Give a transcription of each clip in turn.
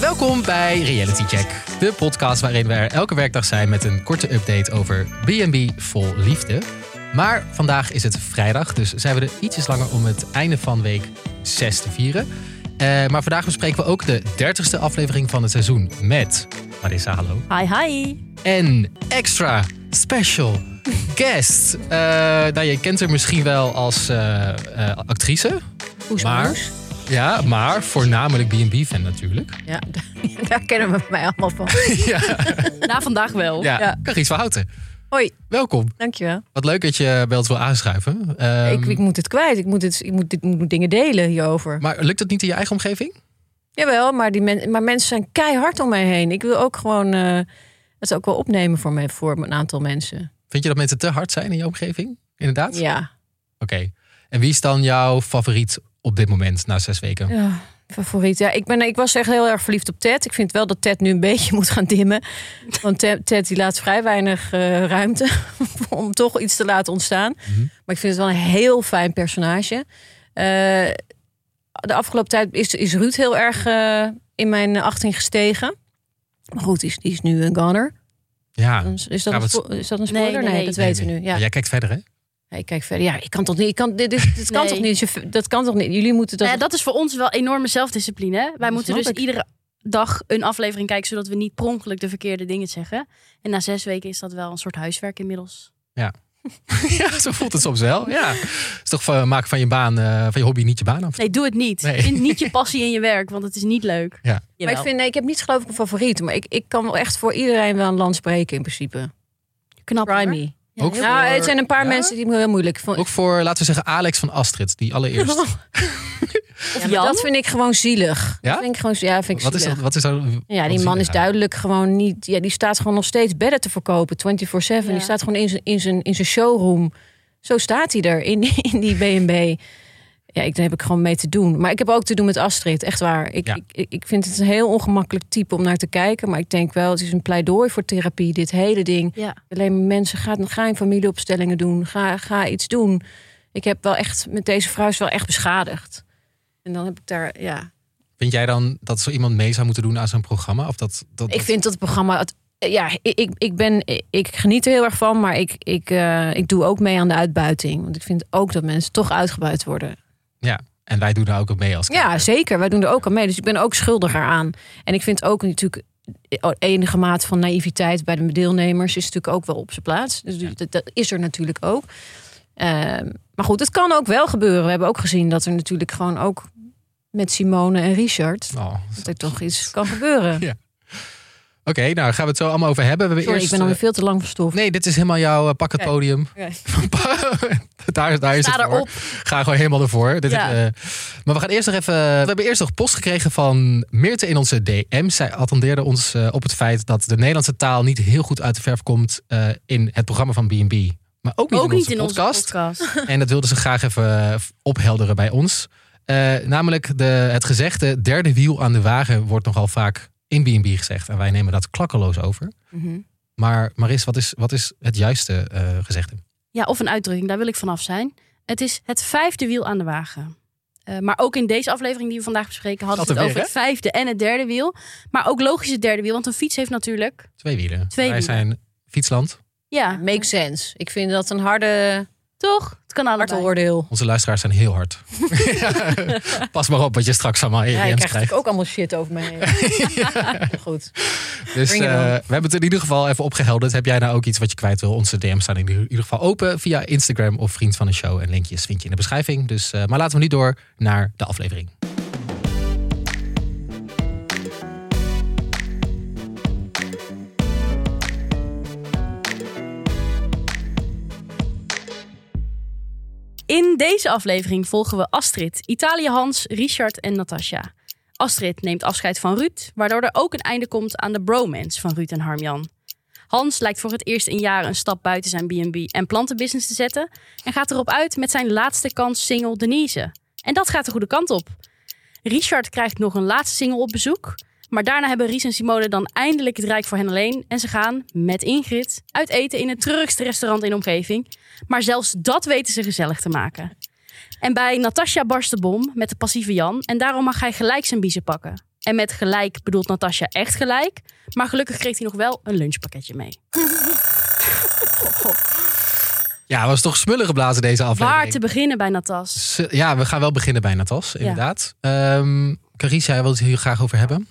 Welkom bij Reality Check, de podcast waarin we er elke werkdag zijn met een korte update over B&B vol liefde. Maar vandaag is het vrijdag, dus zijn we er ietsjes langer om het einde van week 6 te vieren. Eh, maar vandaag bespreken we ook de 30ste aflevering van het seizoen met Marissa, hallo. Hi, hi. En extra special guest. Eh, nou, je kent haar misschien wel als eh, eh, actrice. Oes, Maar- oes. Ja, maar voornamelijk B&B-fan natuurlijk. Ja, daar, daar kennen we mij allemaal van. ja, Na vandaag wel. ja. Ja. Carice van Houten. Hoi, Welkom. dankjewel. Wat leuk dat je bij ons wil aanschuiven. Ehm, ik, ik moet het kwijt. Ik moet, het, ik moet, dit, ik moet dingen delen hierover. Maar lukt dat niet in je eigen omgeving? Jawel, maar, die men, maar mensen zijn keihard om mij heen. Ik wil ook gewoon eh, het ook wel opnemen voor, mij, voor een aantal mensen. Vind je dat mensen te hard zijn in je omgeving? Inderdaad? Ja. Oké. En wie is dan jouw favoriet op dit moment na zes weken? ja. Favoriet. Ja, ik, ben, ik was echt heel erg verliefd op Ted. Ik vind wel dat Ted nu een beetje moet gaan dimmen. Want Ted, Ted die laat vrij weinig eh, ruimte om toch iets te laten ontstaan. Mhm. Maar ik vind het wel een heel fijn personage. Eh, de afgelopen tijd is, is Ruud heel erg eh, in mijn achting gestegen. Maar goed, die is, die is nu een goner. Ja. Dan Is, is, dat Ja, een, wat- spo- is dat een Nee, spoiler? Nee, nee, nee. dat Nee, weten we nee. nu. Ja. Maar jij kijkt verder, hè? Ja, ik kijk verder. Ja, ik kan toch niet. Ik kan, dit, dit, dit kan Nee. toch niet. Je- Dat kan toch niet. Jullie moeten dat. Nou ja, dat is voor ons wel enorme zelfdiscipline. hè? Wij Dat moeten snap dus ik. iedere dag een aflevering kijken, zodat we niet per ongeluk de verkeerde dingen zeggen. En na zes weken is dat wel een soort huiswerk inmiddels. ja, zo voelt het soms wel. Ja. is toch van, maak van je baan, eh, van je hobby niet je baan af. Nee, doe het niet. Nee. Vind niet je passie in je werk, want het is niet leuk. Ja. maar ik vind, nee, ik heb niet geloof ik een favoriet. Maar ik, ik kan wel echt voor iedereen wel een land spreken in principe. knap. Try hoor. me. Ja, Ook heel- Nou, het zijn een paar Ja? mensen die me heel moeilijk vonden. Ook voor, laten we zeggen, Alex van Astrid, die Oh, allereerst. Of Ja, maar Jan. dat vind ik gewoon zielig. Ja? Dat vind ik gewoon, ja, vind ik Wat is zielig. dat? Wat is dat Ja, wat die man je is daar? duidelijk gewoon niet. Ja, die staat gewoon nog steeds bedden te verkopen 24-7. Die Ja. staat gewoon in zijn, in, zijn, in zijn showroom. Zo staat hij er in, in die BNB. Ja, ik, daar heb ik gewoon mee te doen. Maar ik heb ook te doen met Astrid, echt waar. Ik, Ja. ik, ik vind het een heel ongemakkelijk type om naar te kijken. Maar ik denk wel, het is een pleidooi voor therapie, dit hele ding. Ja. Alleen maar mensen, ga, ga in familieopstellingen doen. Ga, ga iets doen. Ik heb wel echt, met deze vrouw is wel echt beschadigd. En dan heb ik daar, ja, Vind jij dan dat zo iemand mee zou moeten doen aan zo'n programma? Of dat, dat, Ik vind dat het programma. het- ja, ik- ik, ik, ben, ik geniet er heel erg van, maar ik, ik, eh, ik doe ook mee aan de uitbuiting. Want ik vind ook dat mensen toch uitgebuit worden. Ja, en wij doen daar ook op mee als Ja, zeker. Wij doen er ook aan mee. Dus ik ben ook schuldiger aan. En ik vind ook natuurlijk eh, oh, enige maat van naïviteit bij de deelnemers is natuurlijk ook wel op zijn plaats. Dus dat, dat is er natuurlijk ook. Ehm, maar goed, het kan ook wel gebeuren. We hebben ook gezien dat er natuurlijk gewoon ook met Simone en Richard Oh, dat er toch iets kan gebeuren. Oké, nou gaan we het zo allemaal over hebben. We hebben Sorry, ik eerst, ben alweer veel te lang verstopt. eh, Nee, dit is helemaal jouw eh, pak het Oké. podium. daar, daar is Sta het voor. erop. Ga gewoon helemaal ervoor. Dit is, Ja. eh, maar we gaan eerst nog even... We hebben eerst nog post gekregen van Meerte in onze DM. Zij attendeerde ons eh, op het feit dat de Nederlandse taal niet heel goed uit de verf komt eh, in het programma van B&B. Maar ook niet Ook in onze niet in podcast. onze podcast. En dat wilden ze graag even eh, ophelderen bij ons. Eh, namelijk de, het gezegde derde wiel aan de wagen wordt nogal vaak in B&B gezegd. En wij nemen dat klakkeloos over. Mhm. Maar Maris, wat is, wat is het juiste eh, gezegde? Ja, of een uitdrukking, daar wil ik vanaf zijn. Het is het vijfde wiel aan de wagen. Eh, maar ook in deze aflevering die we vandaag bespreken hadden we Dat het er over weer, het vijfde en het derde wiel. Maar ook logisch het derde wiel, want een fiets heeft natuurlijk... Twee wielen. Twee wij wielen. zijn fietsland. Ja, Make sense. Ik vind dat een harde, toch? Het kan hard allebei. oordeel. Onze luisteraars zijn heel hard. Ja, Pas maar op wat je straks allemaal in je Ja, ik DM's krijg krijgt. natuurlijk ook allemaal shit over me heen. Goed. Dus Bring it eh, on. we hebben het in ieder geval even opgehelderd. Heb jij nou ook iets wat je kwijt wil? Onze DM's staan in ieder geval open via Instagram of Vriend van de Show. En linkjes vind je in de beschrijving. Dus, eh, maar laten we nu door naar de aflevering. In deze aflevering volgen we Astrid, Italië Hans, Richard en Natasja. Astrid neemt afscheid van Ruud, waardoor er ook een einde komt aan de bromance van Ruud en Harmjan. Hans lijkt voor het eerst in jaren een stap buiten zijn B&B en plantenbusiness te zetten en gaat erop uit met zijn laatste kans single Denise. En dat gaat de goede kant op. Richard krijgt nog een laatste single op bezoek, Maar daarna hebben Ries en Simone dan eindelijk het rijk voor hen alleen. En ze gaan, met Ingrid, uit eten in het treurigste restaurant in de omgeving. Maar zelfs dat weten ze gezellig te maken. En bij Natasja barst de bom met de passieve Jan. En daarom mag hij gelijk zijn biezen pakken. En met gelijk bedoelt Natasja echt gelijk. Maar gelukkig kreeg hij nog wel een lunchpakketje mee. Ja, was toch smullige blazen deze aflevering. Waar te beginnen bij Natas? S- Ja, we gaan wel beginnen bij Natas, inderdaad. Ehm Carissa, jij wil het hier graag over hebben.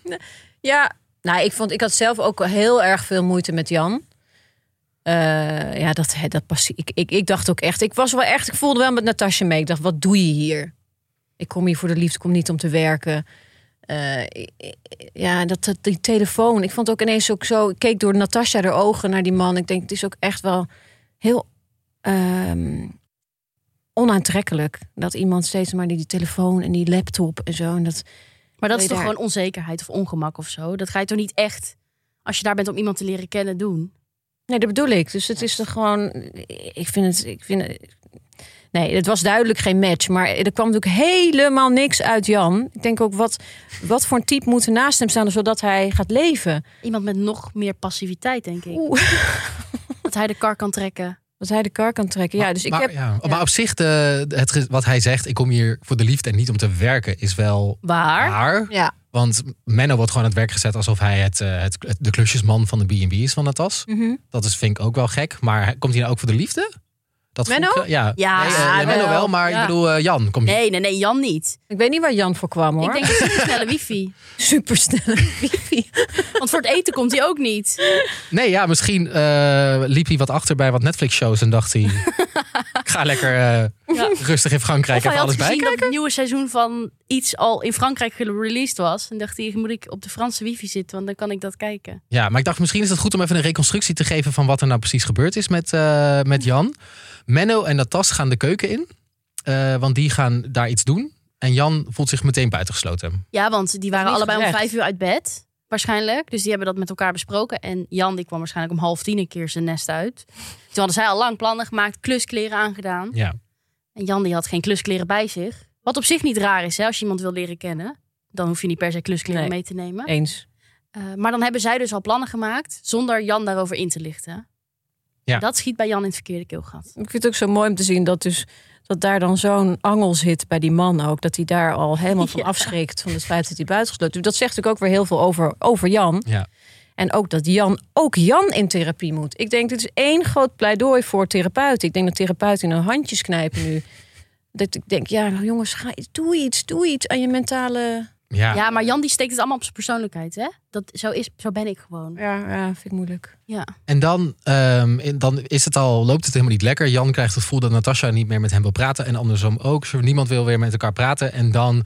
Ja, nou, ik, vond, ik had zelf ook heel erg veel moeite met Jan. Eh, ja, dat, hè, dat passie. Ik, ik, ik dacht ook echt, ik was wel echt, ik voelde wel met Natasja mee. Ik dacht, wat doe je hier? Ik kom hier voor de liefde, ik kom niet om te werken. Eh, ik- ik- ja, dat, dat, die telefoon. Ik vond ook ineens ook zo, ik keek door Natasja haar ogen naar die man. Ik denk, het is ook echt wel heel ehm, onaantrekkelijk. Dat iemand steeds maar die, die telefoon en die laptop en zo. En dat, Maar dat Wil is je toch daar- gewoon onzekerheid of ongemak of zo? Dat ga je toch niet echt, als je daar bent om iemand te leren kennen, doen? Nee, dat bedoel ik. Dus het is toch gewoon. Ik vind het. Ik vind het nee, het was duidelijk geen match. Maar er kwam natuurlijk helemaal niks uit Jan. Ik denk ook, wat, wat voor een type moet er naast hem staan zodat hij gaat leven? Iemand met nog meer passiviteit, denk ik. Oeh. Dat hij de kar kan trekken. Dat hij de kar kan trekken. Ja, dus ik maar, heb. ja, maar op zich, de, het, ge- wat hij zegt, ik kom hier voor de liefde en niet om te werken, is wel Ah. Waar? waar. Ja. Want Menno wordt gewoon aan het werk gezet alsof hij het, eh, het, het- de klusjesman van de B&B is van Natas. Mhm. Dat is, vind ik ook wel gek. Maar hij- komt hij nou ook voor de liefde? Dat vond Menno? ik, eh, ja. Ja, Nee, eh, ja, Menno wel. wel, maar Ja. ik bedoel, eh, Jan komt Nee, nee, nee, Jan niet. Ik weet niet waar Jan voor kwam hoor. Ik denk dat hij snelle wifi. supersnel. Want voor het eten komt hij ook niet. Nee, ja, misschien eh, liep hij wat achter bij wat Netflix-shows en dacht hij... ik ga lekker eh, Ja. rustig in Frankrijk Of hij even had alles gezien bij. dat het nieuwe seizoen van iets al in Frankrijk gereleased was. En dacht hij, moet ik op de Franse wifi zitten, want dan kan ik dat kijken. Ja, maar ik dacht misschien is het goed om even een reconstructie te geven... van wat er nou precies gebeurd is met, eh, met Jan. Menno en Natas gaan de keuken in, eh, want die gaan daar iets doen. En Jan voelt zich meteen buitengesloten. Ja, want die waren niet allebei om gerecht. vijf uur uit bed. Waarschijnlijk. Dus die hebben dat met elkaar besproken. En Jan die kwam waarschijnlijk om half tien een keer zijn nest uit. Toen hadden zij al lang plannen gemaakt, kluskleren aangedaan. Ja. En Jan die had geen kluskleren bij zich. Wat op zich niet raar is, hè, als je iemand wil leren kennen. Dan hoef je niet per se kluskleren Nee. mee te nemen. Eens. Eh, maar dan hebben zij dus al plannen gemaakt zonder Jan daarover in te lichten. Ja. Dat schiet bij Jan in het verkeerde keelgat. Ik vind het ook zo mooi om te zien dat dus. Dat daar dan zo'n angel zit bij die man ook. Dat hij daar al helemaal van Ja. afschrikt. Van het feit dat hij buitengesloten is. Dat zegt natuurlijk ook weer heel veel over, over Jan. Ja. En ook dat Jan, ook Jan in therapie moet. Ik denk, dit is één groot pleidooi voor therapeuten. Ik denk dat therapeuten in hun handjes knijpen nu. Dat ik denk, ja, nou jongens, ga, doe iets, doe iets aan je mentale... Ja. Ja. maar Jan die steekt het allemaal op zijn persoonlijkheid, hè? Dat, zo, is, zo ben ik gewoon. Ja, ja vind ik moeilijk. Ja. En dan, ehm, in- dan is het al, loopt het helemaal niet lekker. Jan krijgt het gevoel dat Natasja niet meer met hem wil praten. En andersom ook. Zo, Niemand wil weer met elkaar praten. En dan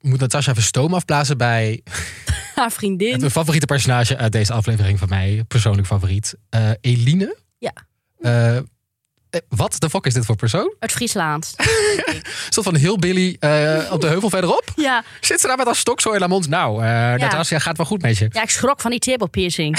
moet Natasja even stoom afblazen bij Haar vriendin. het favoriete personage uit deze aflevering van mij. Persoonlijk favoriet. eh, Eline. Ja. Eh, eh, wat de fuck is dit voor persoon? Uit Friesland. Een soort van heel Billy eh, op de heuvel verderop. ja. Zit ze daar met haar stok zo in haar mond? Nou, eh Natasja gaat wel goed met je. ja, ik schrok van die table piercing.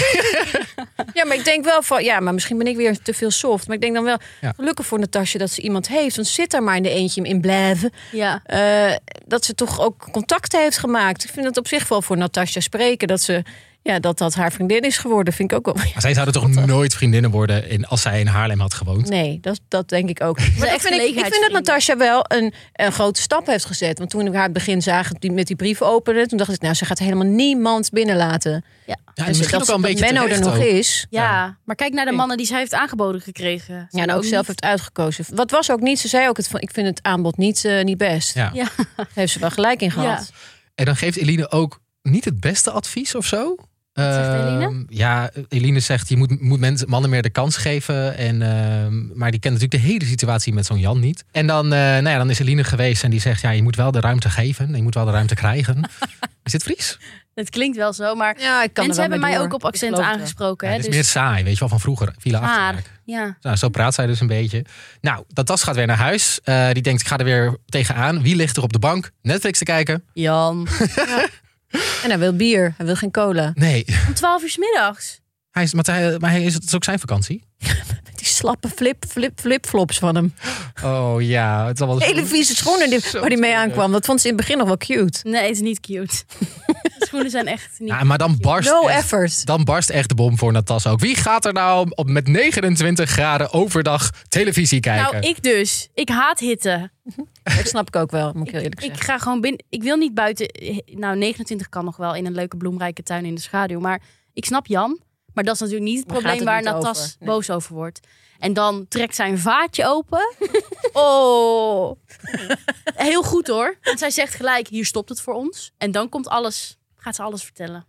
Ja, maar ik denk wel van, ja, maar misschien ben ik weer te veel soft. Maar ik denk dan wel, Ja. gelukkig voor Natasja dat ze iemand heeft. Want zit daar maar in de eentje in blijven. ja. Eh, dat ze toch ook contacten heeft gemaakt. Ik vind het op zich wel voor Natasja spreken. Dat ze, ja, dat dat haar vriendin is geworden. Vind ik ook wel... Maar zij zouden toch nooit vriendinnen worden in, als zij in Haarlem had gewoond? Nee, dat, dat denk ik ook. niet. Maar echt dat vind ik, ik vind dat gelegenheidsvrienden. Natasja wel een, een grote stap heeft gezet. Want toen we haar het begin zagen die, met die brief openen... toen dacht ik, nou, ze gaat helemaal niemand binnenlaten. Ja, en Dus misschien dat, ook wel een dat beetje Menno er terecht nog ook. is. Ja, nou, maar kijk naar de mannen die zij heeft aangeboden gekregen. Ja, en ook zelf heeft uitgekozen. Wat was ook niet, ze zei ook, het, van, ik vind het aanbod niet, eh, niet best. Ja. Ja. Daar heeft ze wel gelijk in gehad. En dan geeft Eline ook niet het beste advies of zo. zegt Ehm, Eline? ja, Eline zegt je moet, moet mensen, mannen meer de kans geven. En, ehm, maar die kent natuurlijk de hele situatie met zo'n Jan niet. En dan, eh, nou ja, dan is Eline geweest en die zegt ja, je moet wel de ruimte geven. Je moet wel de ruimte krijgen. is dit Fries? Het klinkt wel zo, maar Ja, ik kan er mensen wel hebben mee mij door. ook op Ik accent geloof het wel. aangesproken. Ja, hè, dit is dus meer saai, weet je wel, van vroeger. Villa haar. Achterwerk. Ja. Nou, zo praat zij dus een beetje. Nou, dat tas gaat weer naar huis. Eh, die denkt, ik ga er weer tegenaan. Wie ligt er op de bank? Netflix te kijken? Jan. En hij wil bier, hij wil geen cola. Nee, Om twaalf uur 's middags. hij is, maar, hij, maar hij is, het is ook zijn vakantie. Die slappe flip, flip, flipflops van hem. Oh ja, het is allemaal... Hele vieze schoenen die, Zo waar hij mee treurig. aankwam. Dat vond ze in het begin nog wel cute. Nee, het is niet cute. De schoenen zijn echt niet... Ja, maar dan barst, No echt, effort. dan barst echt de bom voor Natas ook. Wie gaat er nou op met 29 graden overdag televisie kijken? nou, ik dus. Ik haat hitte. Dat snap ik ook wel, moet ik heel eerlijk Ik, zeggen. ga gewoon binnen... Ik wil niet buiten... Nou, 29 kan nog wel in een leuke bloemrijke tuin in de schaduw. Maar ik snap Jan. Maar dat is natuurlijk niet het Daar probleem gaat waar het niet Natas over. Nee. boos over wordt. En dan trekt zijn vaatje open. oh. Heel goed hoor. Want zij zegt gelijk, hier stopt het voor ons. En dan komt alles... Gaat ze alles vertellen.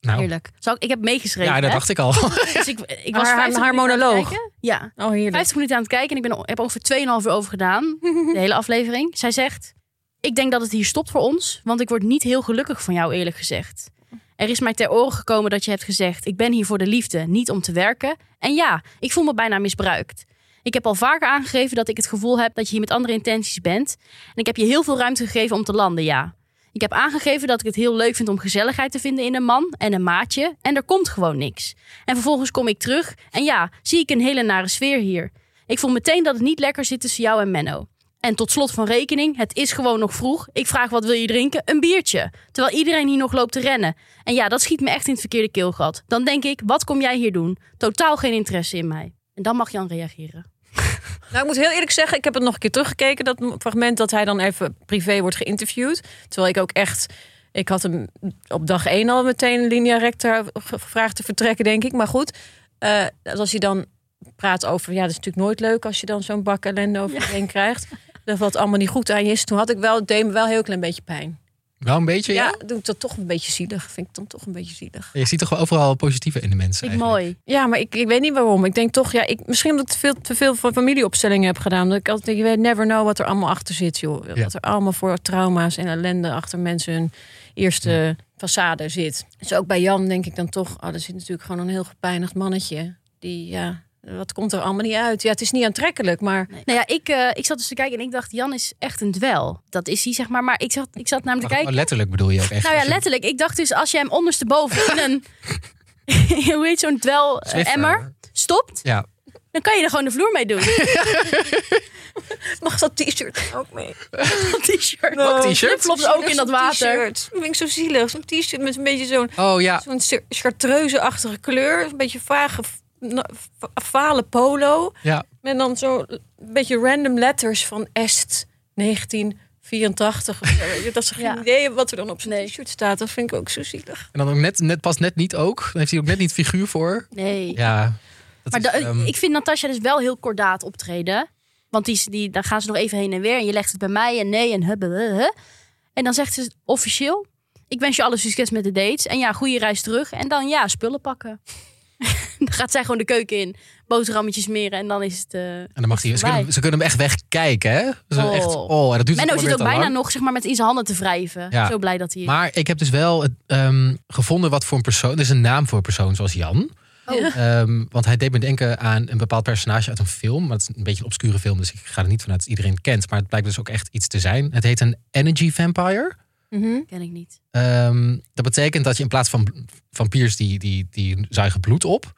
Nou, Heerlijk. Zal ik, ik heb meegeschreven. ja, dat hè? dacht ik al. Dus ik, ik was 50 Haar- haar minuten aan het monoloog. kijken. Ja. Oh, heerlijk. 50 minuten aan het kijken en ik ben, o- heb ongeveer 2,5 uur over gedaan. De hele aflevering. Zij zegt: Ik denk dat het hier stopt voor ons, want ik word niet heel gelukkig van jou, eerlijk gezegd. Er is mij ter oren gekomen dat je hebt gezegd: Ik ben hier voor de liefde, niet om te werken. En ja, ik voel me bijna misbruikt. Ik heb al vaker aangegeven dat ik het gevoel heb dat je hier met andere intenties bent. En ik heb je heel veel ruimte gegeven om te landen, ja. Ik heb aangegeven dat ik het heel leuk vind om gezelligheid te vinden in een man en een maatje. En er komt gewoon niks. En vervolgens kom ik terug en ja, zie ik een hele nare sfeer hier. Ik voel meteen dat het niet lekker zit tussen jou en Menno. En tot slot van rekening, het is gewoon nog vroeg. Ik vraag wat wil je drinken? Een biertje. Terwijl iedereen hier nog loopt te rennen. En ja, dat schiet me echt in het verkeerde keelgat. Dan denk ik, wat kom jij hier doen? Totaal geen interesse in mij. En dan mag Jan reageren. Nou, ik moet heel eerlijk zeggen, ik heb het nog een keer teruggekeken. Dat m- fragment dat hij dan even privé wordt geïnterviewd. Terwijl ik ook echt... Ik had hem op dag één al meteen linea recta ge- gevraagd te vertrekken, denk ik. Maar goed, eh, als hij dan praat over... Ja, dat is natuurlijk nooit leuk als je dan zo'n bak ellende over je heen krijgt. Dat wat allemaal niet goed aan je is. Toen had ik wel, het deed me wel een heel klein beetje pijn. Wel een beetje, ja? Ja, doe ik dat toch een beetje zielig. Vind ik dan toch een beetje zielig. Je ziet toch wel overal positieve in de mensen. Vind ik eigenlijk. mooi. Ja, maar ik, ik weet niet waarom. Ik denk toch, ja, ik, misschien omdat ik te veel, te veel van familieopstellingen heb gedaan. Dat ik altijd denk, je weet never know wat er allemaal achter zit, joh. Ja. Wat er allemaal voor trauma's en ellende achter mensen hun eerste façade zit. Dus ook bij Jan denk ik dan toch, oh, er zit natuurlijk gewoon een heel gepijnigd mannetje. Die, ja, wat komt er allemaal niet uit? Ja, het is niet aantrekkelijk, maar Nou ja, ik, eh, ik zat dus te kijken en ik dacht, Jan is echt een dwel. Dat is hij, zeg maar. Maar ik zat, ik zat namelijk te Maar kijken. gewoon letterlijk bedoel je ook echt. Nou ja, als je- letterlijk. Ik dacht dus, als je hem ondersteboven in een... hoe heet zo'n Swiffer. dwel-emmer stopt, Ja, dan kan je er gewoon de vloer mee doen. mag dat t-shirt ook mee? Dat t-shirt. Ook Nou, t-shirt? Flipflops Nou, ook in dat water. Dat vind ik zo zielig. Zo'n t-shirt met een beetje zo'n oh ja. Zo'n char- chartreuze-achtige kleur. Een beetje vage, f- na- fa- fale polo. ja. Met dan zo'n beetje random letters van Est 1984. of zo. Weet je, Dat is geen Ja. idee wat er dan op zijn Nee. t-shirt staat. Dat vind ik ook zo zielig. En dan ook net, net pas net niet ook. Dan heeft hij ook net niet figuur voor. Nee. Ja. dat maar is, da- ehm, ik vind Natasja dus wel heel kordaat optreden. Want die, die, dan gaan ze nog even heen en weer. En je legt het bij mij en nee en hubbe. En dan zegt ze officieel... Ik wens je alle succes met de dates. En ja, goede reis terug. En dan ja, spullen pakken. dan gaat zij gewoon de keuken in. Boterhammetjes smeren. En dan is het... eh, En dan mag hij, ze, voorbij. kunnen, ze kunnen hem echt wegkijken, hè? Ze Oh. Echt, oh, en dat duurt Menno allemaal zit weer ook te bijna lang. nog zeg maar, met in zijn handen te wrijven. Ja. Zo blij dat hij... Maar ik heb dus wel het, ehm, gevonden wat voor een persoon... Er is een naam voor een persoon zoals Jan. Oh. Ehm, want hij deed me denken aan een bepaald personage uit een film. Maar het is een beetje een obscure film, dus ik ga er niet vanuit dat iedereen het kent. Maar het blijkt dus ook echt iets te zijn. Het heet een energy vampire. ken ik niet. Ehm, dat betekent dat je in plaats van vampiers, die, die, die zuigen bloed op.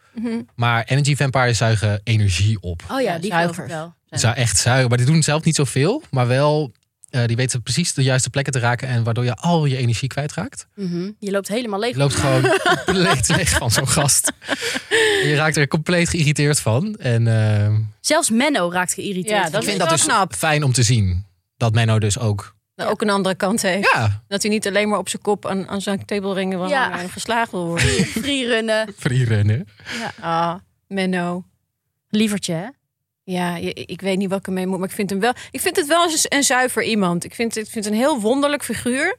Maar energy vampires zuigen energie op. Mhm. Oh ja, Ja, die geloof zuigers. ik wel. Ze zijn echt zuigen. Maar die doen zelf niet zoveel. Maar wel, eh, die weten precies de juiste plekken te raken. En waardoor je al je energie kwijtraakt. Mhm. Je loopt helemaal leeg. Je loopt gewoon compleet weg van zo'n gast. En je raakt er compleet geïrriteerd van. En eh, Zelfs Menno raakt geïrriteerd. Ja, van ik dat dit. vind is dat wel dus knap. fijn om te zien. Dat Menno dus ook... Nou, ook een andere kant heeft. Ja, Dat hij niet alleen maar op zijn kop aan, aan zijn tabelringen wil Ja. hangen en geslagen wil worden. Free runnen. freerunnen. Ah, Menno. Lievertje, hè? Ja, je- ik weet niet wat ik ermee moet, maar ik vind hem wel. Ik vind het wel een, een zuiver iemand. Ik vind, ik vind het een heel wonderlijk figuur.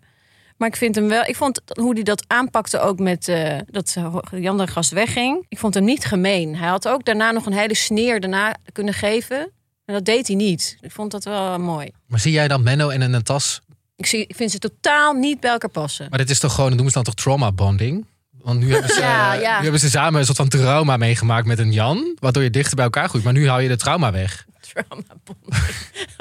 Maar ik vind hem wel. Ik vond hoe hij dat aanpakte ook met eh, dat Jan de Gast wegging. Ik vond hem niet gemeen. Hij had ook daarna nog een hele sneer daarna kunnen geven. En dat deed hij niet. Ik vond dat wel mooi. Maar zie jij dan Menno en een tas? Ik, zie, ik vind ze totaal niet bij elkaar passen. Maar dit is toch gewoon, noemen ze dan toch trauma bonding? Want nu hebben, ze, Ja, ja. nu hebben ze samen een soort van trauma meegemaakt met een Jan. Waardoor je dichter bij elkaar groeit. Maar nu hou je de trauma weg. Trauma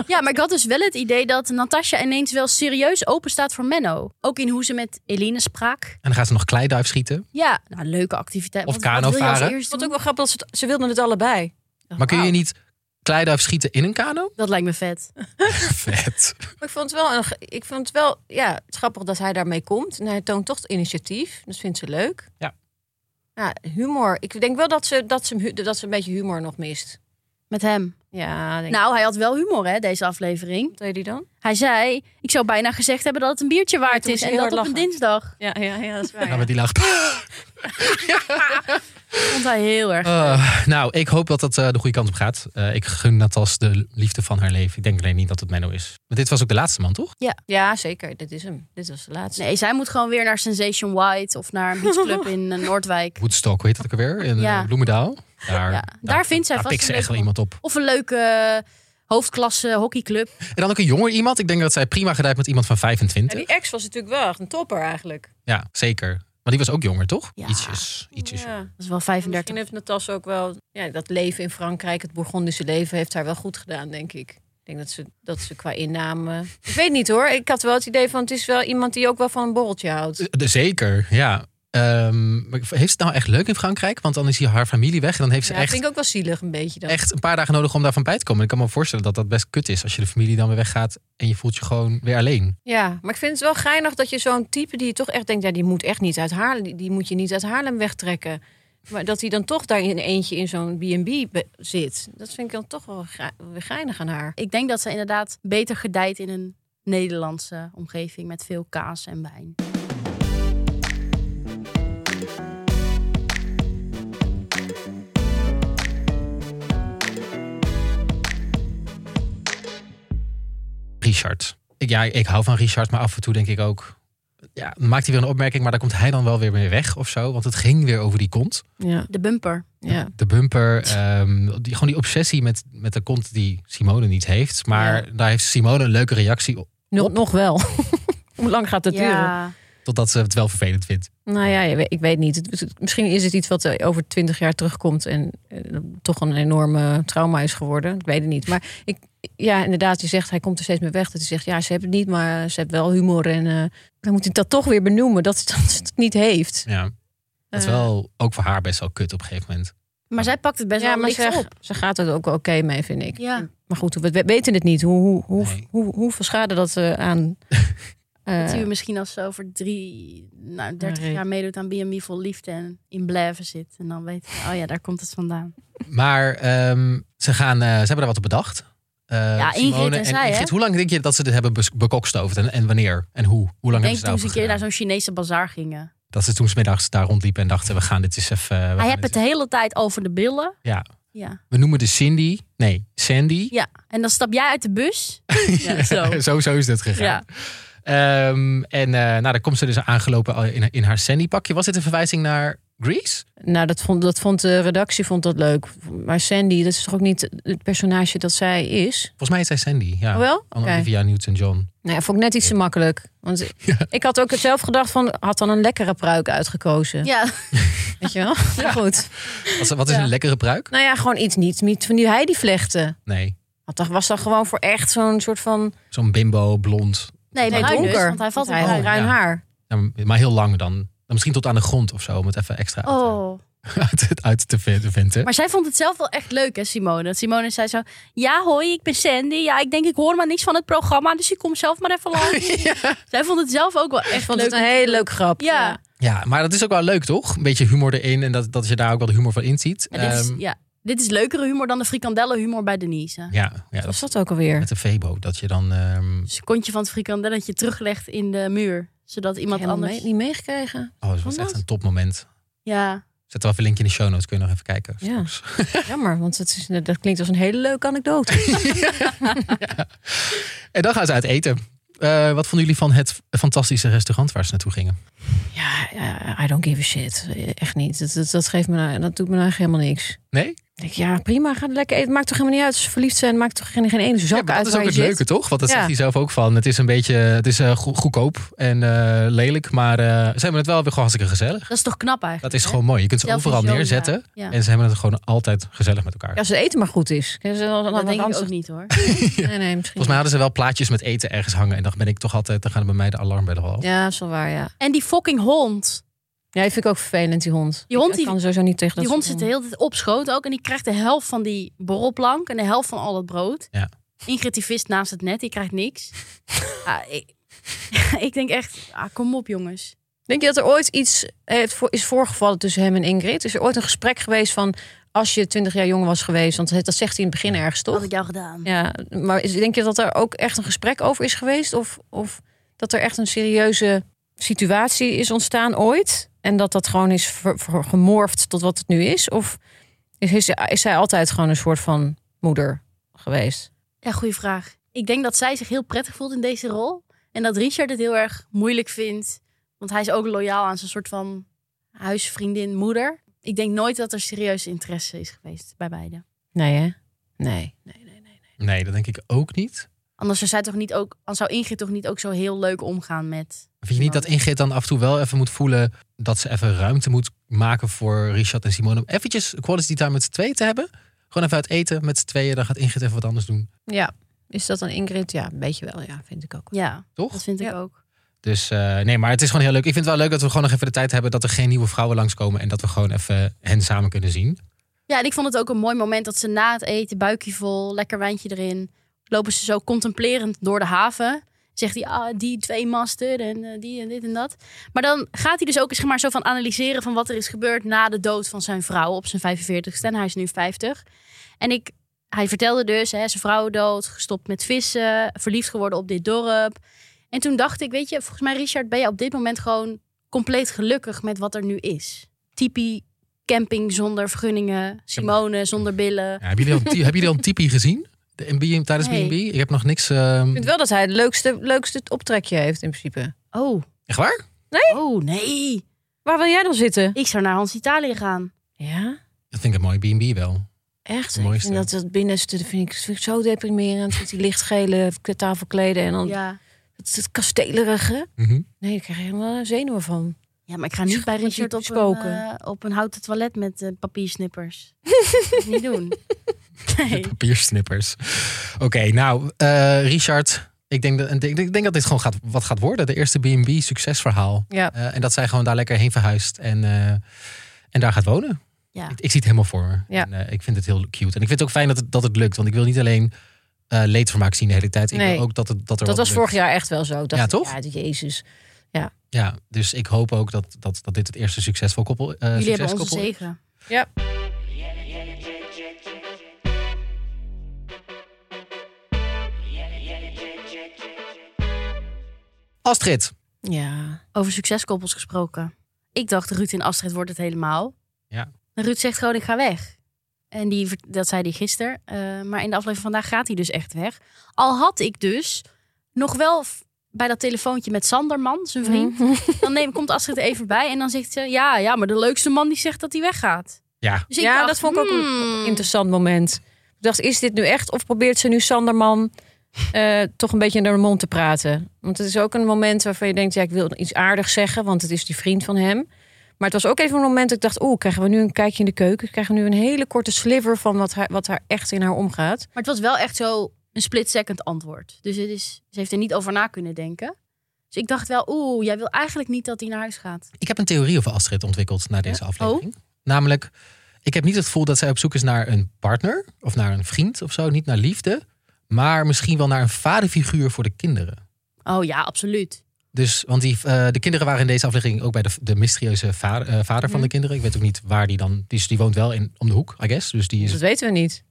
Ja, maar ik had dus wel het idee dat Natasja ineens wel serieus open staat voor Menno. Ook in hoe ze met Eline spraak. En dan gaat ze nog kleiduif schieten. Ja, nou, leuke activiteit. Of Wat- wat wil je als kanovaren. eerst Vond doen? ook wel grappig dat ze, het- ze wilden het allebei. Maar kun je niet kleiduif schieten in een kano? Dat lijkt me vet. Vet. Maar ik vond het wel, een, ge- ik vond het wel ja, het is grappig dat hij daarmee komt. En hij toont toch initiatief. Dat vindt ze leuk. Ja. Ja, humor. Ik denk wel dat ze, dat ze, hem hu- dat ze een beetje humor nog mist. Met hem. Ja, denk Nou, hij had wel humor, hè, deze aflevering. Wat deed hij dan? Hij zei, ik zou bijna gezegd hebben dat het een biertje waard toen is. moest En dat hij heel op hard een lachen. dinsdag. Ja, ja, ja dat is waar. Ja, maar die lacht. Vond hij heel erg. Eh, nou, ik hoop dat dat eh, de goede kant op gaat. Eh, ik gun Natas de liefde van haar leven. Ik denk alleen niet dat het Menno is. Maar dit was ook de laatste man, toch? Ja, zeker. Dit is hem. Dit was de laatste. Nee, zij moet gewoon weer naar Sensation White of naar een beachclub in eh, Noordwijk. Woodstock, hoe heet dat ook alweer? In eh, Ja. Bloemendaal. Daar, Ja, daar vindt zij daar vast pikt ze een echt wel leuke iemand op. Of een leuke eh, hoofdklasse hockeyclub. En dan ook een jonger iemand. Ik denk dat zij prima gedijt met iemand van 25. En Ja, die ex was natuurlijk wel echt een topper eigenlijk. zeker. Maar die was ook jonger, toch? Ja. Ietsjes. Ietsjes jonger. Ja. Dat is wel Misschien 35. heeft Natas ook wel... Ja, dat leven in Frankrijk, het Bourgondische leven... heeft haar wel goed gedaan, denk ik. Ik denk dat ze, dat ze qua inname... Ik weet niet hoor. Ik had wel het idee van... het is wel iemand die ook wel van een borreltje houdt. Eh, de- Zeker, ja. Ehm, maar heeft ze het nou echt leuk in Frankrijk? Want dan is hier haar familie weg. En dan heeft ze Ja, dat echt, vind ik ook wel zielig een beetje dan. echt een paar dagen nodig om daarvan bij te komen. Ik kan me voorstellen dat dat best kut is. Als je de familie dan weer weggaat en je voelt je gewoon weer alleen. Ja, maar ik vind het wel geinig dat je zo'n type die je toch echt denkt... ja, die moet echt niet uit Haarlem, die, die moet je niet uit Haarlem wegtrekken. Maar dat hij dan toch daar in eentje in zo'n B&B be- zit. Dat vind ik dan toch wel ge- weer geinig aan haar. Ik denk dat ze inderdaad beter gedijt in een Nederlandse omgeving met veel kaas en wijn. Richard. Ik, ja, ik hou van Richard, maar af en toe denk ik ook... Ja, dan maakt hij weer een opmerking, maar daar komt hij dan wel weer mee weg of zo. Want het ging weer over die kont. Ja, De bumper. ja. De bumper, ehm, die, gewoon die obsessie met, met de kont die Simone niet heeft. Maar daar heeft Simone een leuke reactie op, Nog, nog wel. Hoe lang gaat dat duren? Ja. totdat ze het wel vervelend vindt. Nou ja, je weet- ik weet niet. Het- het- Misschien is het iets wat eh, over twintig jaar terugkomt en eh, toch een enorme trauma is geworden. Ik weet het niet. Maar ik, ja, inderdaad, je zegt, hij komt er steeds mee weg. Dat hij zegt, ja, ze hebben het niet, maar ze hebben wel humor. En eh dan moet hij dat toch weer benoemen, dat, ze- dat ze het niet heeft. Ja, dat is Eh, wel ook voor haar best wel kut op een gegeven moment. Maar zij pakt het best ja, wel maar licht ze, op. ze gaat er ook wel oké mee, vind ik. Ja. Maar goed, we we weten het niet. Hoe, hoe, hoe, Nee. hoe, hoeveel schade dat eh, aan... eh, Dat zien we misschien als ze over drie, nou, 30 Nee. jaar meedoet aan B&B vol liefde en in Bleven zit. En dan weten we, oh ja, daar komt het vandaan. Maar ehm, ze, gaan, eh, ze hebben er wat op bedacht. Eh, Ja, Ingrid en zij, hè? Ingrid, hoe lang denk je dat ze dit hebben bes- bekokstoofd? En, en wanneer? En hoe? Hoe lang Ik hebben denk ze daarover toen ze een keer gedaan? naar zo'n Chinese bazaar gingen. Dat ze toen 's middags daar rondliepen en dachten, we gaan dit eens even... eh, We, Hij gaan hebt dit het de hele tijd over de billen. Ja. Ja. eens- we noemen de Cindy. Nee, Sandy. ja. En dan stap jij uit de bus. Ja, zo. zo, zo is dit Ja. gegaan. Ehm, en eh nou, dan komt ze dus aangelopen al in, in haar Sandy pakje. Was dit een verwijzing naar Grease? Nou, dat vond, dat vond de redactie vond dat leuk. Maar Sandy, dat is toch ook niet het personage dat zij is? Volgens mij is zij Sandy. Ja. Oh wel? Van Oké. Olivia Newton-John. Nou, ja, vond ik net iets te makkelijk. Want ik had ook zelf gedacht van, had dan een lekkere pruik uitgekozen. Ja. Weet je wel? Ja. Goed. Wat, wat is Ja. een lekkere pruik? Nou ja, gewoon iets niet, niet van die Heidi vlechten. Nee. Want dat was dan gewoon voor echt zo'n soort van Zo'n bimbo, blond. Nee, nee, bruin dus, donker. want hij valt op hij had bruin. bruin Ja. haar. Nou, maar heel lang dan. Dan Misschien tot aan de grond of zo. Om het even extra uit- Oh. uit, uit, te ven- te venten. Maar zij vond het zelf wel echt leuk, hè, Simone? Dat Simone zei zo: Ja, hoi, ik ben Sandy. Ja, ik denk, ik hoor maar niks van het programma, dus ik kom zelf maar even langs. Zij vond het zelf ook wel echt Ik vond leuk. het een hele leuke grap. Ja. Ja, maar dat is ook wel leuk, toch? Een beetje humor erin. En dat, dat je daar ook wel de humor van inziet. En dit, is, Ehm, ja, dit is leukere humor dan de frikandellenhumor bij Denise. hè. ja, ja, Wat dat was dat ook alweer? Met een veebo, dat je dan... ehm, Dus het kontje van het frikandelletje teruglegt in de muur, zodat iemand Helemaal anders. mee- niet meegekregen. oh, dat was Kan echt dat? een topmoment. Ja. Zet wel even een linkje in de show notes, kun je nog even kijken. Ja. straks. Jammer, want het is, dat klinkt als een hele leuke anekdote. En dan gaan ze uit eten. Eh, wat vonden jullie van het fantastische restaurant waar ze naartoe gingen? Ja, ja, I don't give a shit. Echt niet. Dat, dat, dat, geeft me nou, dat doet me nou echt helemaal niks. Nee? Ik denk, ja, prima, ga lekker eten. Maakt toch helemaal niet uit als ze verliefd zijn. Maakt toch geen, geen ene Ja, zak maar uit dat is ook waar je het zit. leuke, toch? Want dat Ja. zegt hij zelf ook van. Het is een beetje het is, eh, go- goedkoop en eh, lelijk, maar eh, ze hebben het wel weer gewoon hartstikke gezellig. Dat is toch knap eigenlijk? Dat is hè? gewoon mooi. Je kunt ze Zelf overal een show, neerzetten Ja. Ja. en ze hebben het gewoon altijd gezellig met elkaar. Ja, als het eten maar goed is. Kijk, ze dan- dan- Dat dan denk ik ranzig- ook niet hoor. Nee, nee, misschien Volgens mij hadden ze wel plaatjes met eten ergens hangen en dan ben ik toch altijd, dan gaan er bij mij de alarmbellen al. niet. Ja, dat is wel waar, ja. En die fucking hond. Ja, die vind ik ook vervelend, die hond. Die hond Ik- die- ik kan sowieso niet tegen dat die hond soort zit de hele tijd op schoot ook. En die krijgt de helft van die borrelplank en de helft van al dat brood. Ja. Ingrid die vist naast het net, die krijgt niks. Ah, ik, ik denk echt, ah, kom op jongens. Denk je dat er ooit iets eh, heeft voor- is voorgevallen tussen hem en Ingrid? Is er ooit een gesprek geweest van als je 20 jaar jonger was geweest? Want dat zegt hij in het begin ergens, Wat had toch? ik jou gedaan? Ja, maar is- denk je dat er ook echt een gesprek over is geweest? Of, of dat er echt een serieuze situatie is ontstaan ooit? En dat dat gewoon is ver- ver- gemorfd tot wat het nu is? Of is, is, is zij altijd gewoon een soort van moeder geweest? Ja, goede vraag. Ik denk dat zij zich heel prettig voelt in deze rol. En dat Richard het heel erg moeilijk vindt. Want hij is ook loyaal aan zijn soort van huisvriendin, moeder. Ik denk nooit dat er serieus interesse is geweest bij beiden. Nee, hè? Nee. Nee, dat denk ik ook niet. Anders zou, zij toch niet ook, anders zou Ingrid toch niet ook zo heel leuk omgaan met... Vind je niet dat Ingrid dan af en toe wel even moet voelen dat ze even ruimte moet maken voor Richard en Simone? Om eventjes quality time met z'n tweeën te hebben. Gewoon even uit eten met z'n tweeën. Dan gaat Ingrid even wat anders doen. Ja. Is dat dan Ingrid? Ja, een beetje wel. Ja, vind ik ook. Ja, Toch? dat vind ik Ja. ook. Dus eh, nee, maar het is gewoon heel leuk. Ik vind het wel leuk dat we gewoon nog even de tijd hebben dat er geen nieuwe vrouwen langskomen. En dat we gewoon even hen samen kunnen zien. Ja, en ik vond het ook een mooi moment dat ze na het eten, buikje vol, lekker wijntje erin, lopen ze zo contemplerend door de haven. Zegt hij, ah, die twee masten en eh, die en dit en dat. Maar dan gaat hij dus ook eens zeg maar, zo van analyseren van wat er is gebeurd na de dood van zijn vrouw op zijn 45ste. En hij is nu 50. En ik, hij vertelde dus, hè, zijn vrouw dood, gestopt met vissen, verliefd geworden op dit dorp. En toen dacht ik, weet je, volgens mij Richard, ben je op dit moment gewoon compleet gelukkig met wat er nu is. Typie camping zonder vergunningen, Simone zonder billen. Ja, hebben jullie al, een ti- hebben jullie al een tipi gezien? De MB, tijdens Nee. B&B? Ik heb nog niks... ehm, Ik vind wel dat hij het leukste, leukste optrekje heeft in principe. Oh, Echt waar? oh nee. Waar wil jij dan zitten? Ik zou naar Hans Italië gaan. Ja, Dat vind ik een mooi B&B wel. echt. Het Ik mooiste. vind dat, dat binnenste dat vind ik, vind ik zo deprimerend. Met die lichtgele tafelkleden en dan Ja. het, het kastelerige. Mhm. Nee, ik krijg er helemaal zenuwen van. ja, maar ik ga niet bij Met die Richard op een, spoken. eh, op een houten toilet met eh, papiersnippers. Dat niet doen. Nee. Eh, Papiersnippers. Oké, nou, eh, Richard. Ik denk, dat, ik denk- ik denk dat dit gewoon gaat, wat gaat worden. De eerste B&B succesverhaal. Ja. Eh, en dat zij gewoon daar lekker heen verhuist. En, eh, en daar gaat wonen. Ja. Ik, ik zie het helemaal voor me. Ja. En, eh, ik vind het heel cute. En ik vind het ook fijn dat het, dat het lukt. Want ik wil niet alleen eh, leedvermaak zien de hele tijd. Ik Nee. wil ook dat, het, dat er Dat wat was lukt. vorig jaar echt wel zo. Dacht Ja, ik, toch? Ja, jezus. Ja, dus ik hoop ook dat, dat, dat dit het eerste succesvol koppel, eh Jullie hebben onze succeskoppel is. zegen. Ja. Astrid. Ja. Over succeskoppels gesproken. Ik dacht, Ruud en Astrid wordt het helemaal. Ja. En Ruud zegt gewoon, ik ga weg. En die, ver- dat zei hij gisteren. eh, maar in de aflevering vandaag gaat hij dus echt weg. Al had ik dus nog wel f- bij dat telefoontje met Sanderman, zijn vriend. Mhm. Dan neem, komt Astrid er even bij en dan zegt ze... Ja, ja, maar de leukste man die zegt dat hij weggaat. Ja, Dus ik Ja, dacht, dat vond ik ook een hmm, Interessant moment. Ik dacht, is dit nu echt? Of probeert ze nu Sanderman eh, toch een beetje naar de mond te praten? Want het is ook een moment waarvan je denkt, ja, ik wil iets aardigs zeggen, want het is die vriend van hem. Maar het was ook even een moment dat ik dacht, oeh, krijgen we nu een kijkje in de keuken? Krijgen we nu een hele korte sliver van wat haar, wat haar echt in haar omgaat? Maar het was wel echt zo een split-second antwoord. Dus het is, ze heeft er niet over na kunnen denken. Dus ik dacht wel, oeh, jij wil eigenlijk niet dat hij naar huis gaat. ik heb een theorie over Astrid ontwikkeld na Oh. deze aflevering. Namelijk, ik heb niet het gevoel dat zij op zoek is naar een partner of naar een vriend of zo, niet naar liefde, maar misschien wel naar een vaderfiguur voor de kinderen. Oh ja, absoluut. Dus, want die, eh, de kinderen waren in deze aflevering ook bij de, de mysterieuze vader, eh, vader van de kinderen. Ik weet ook niet waar die dan. Die, is- die woont wel in, om de hoek, I guess. Dus die is Dus dat weten we niet.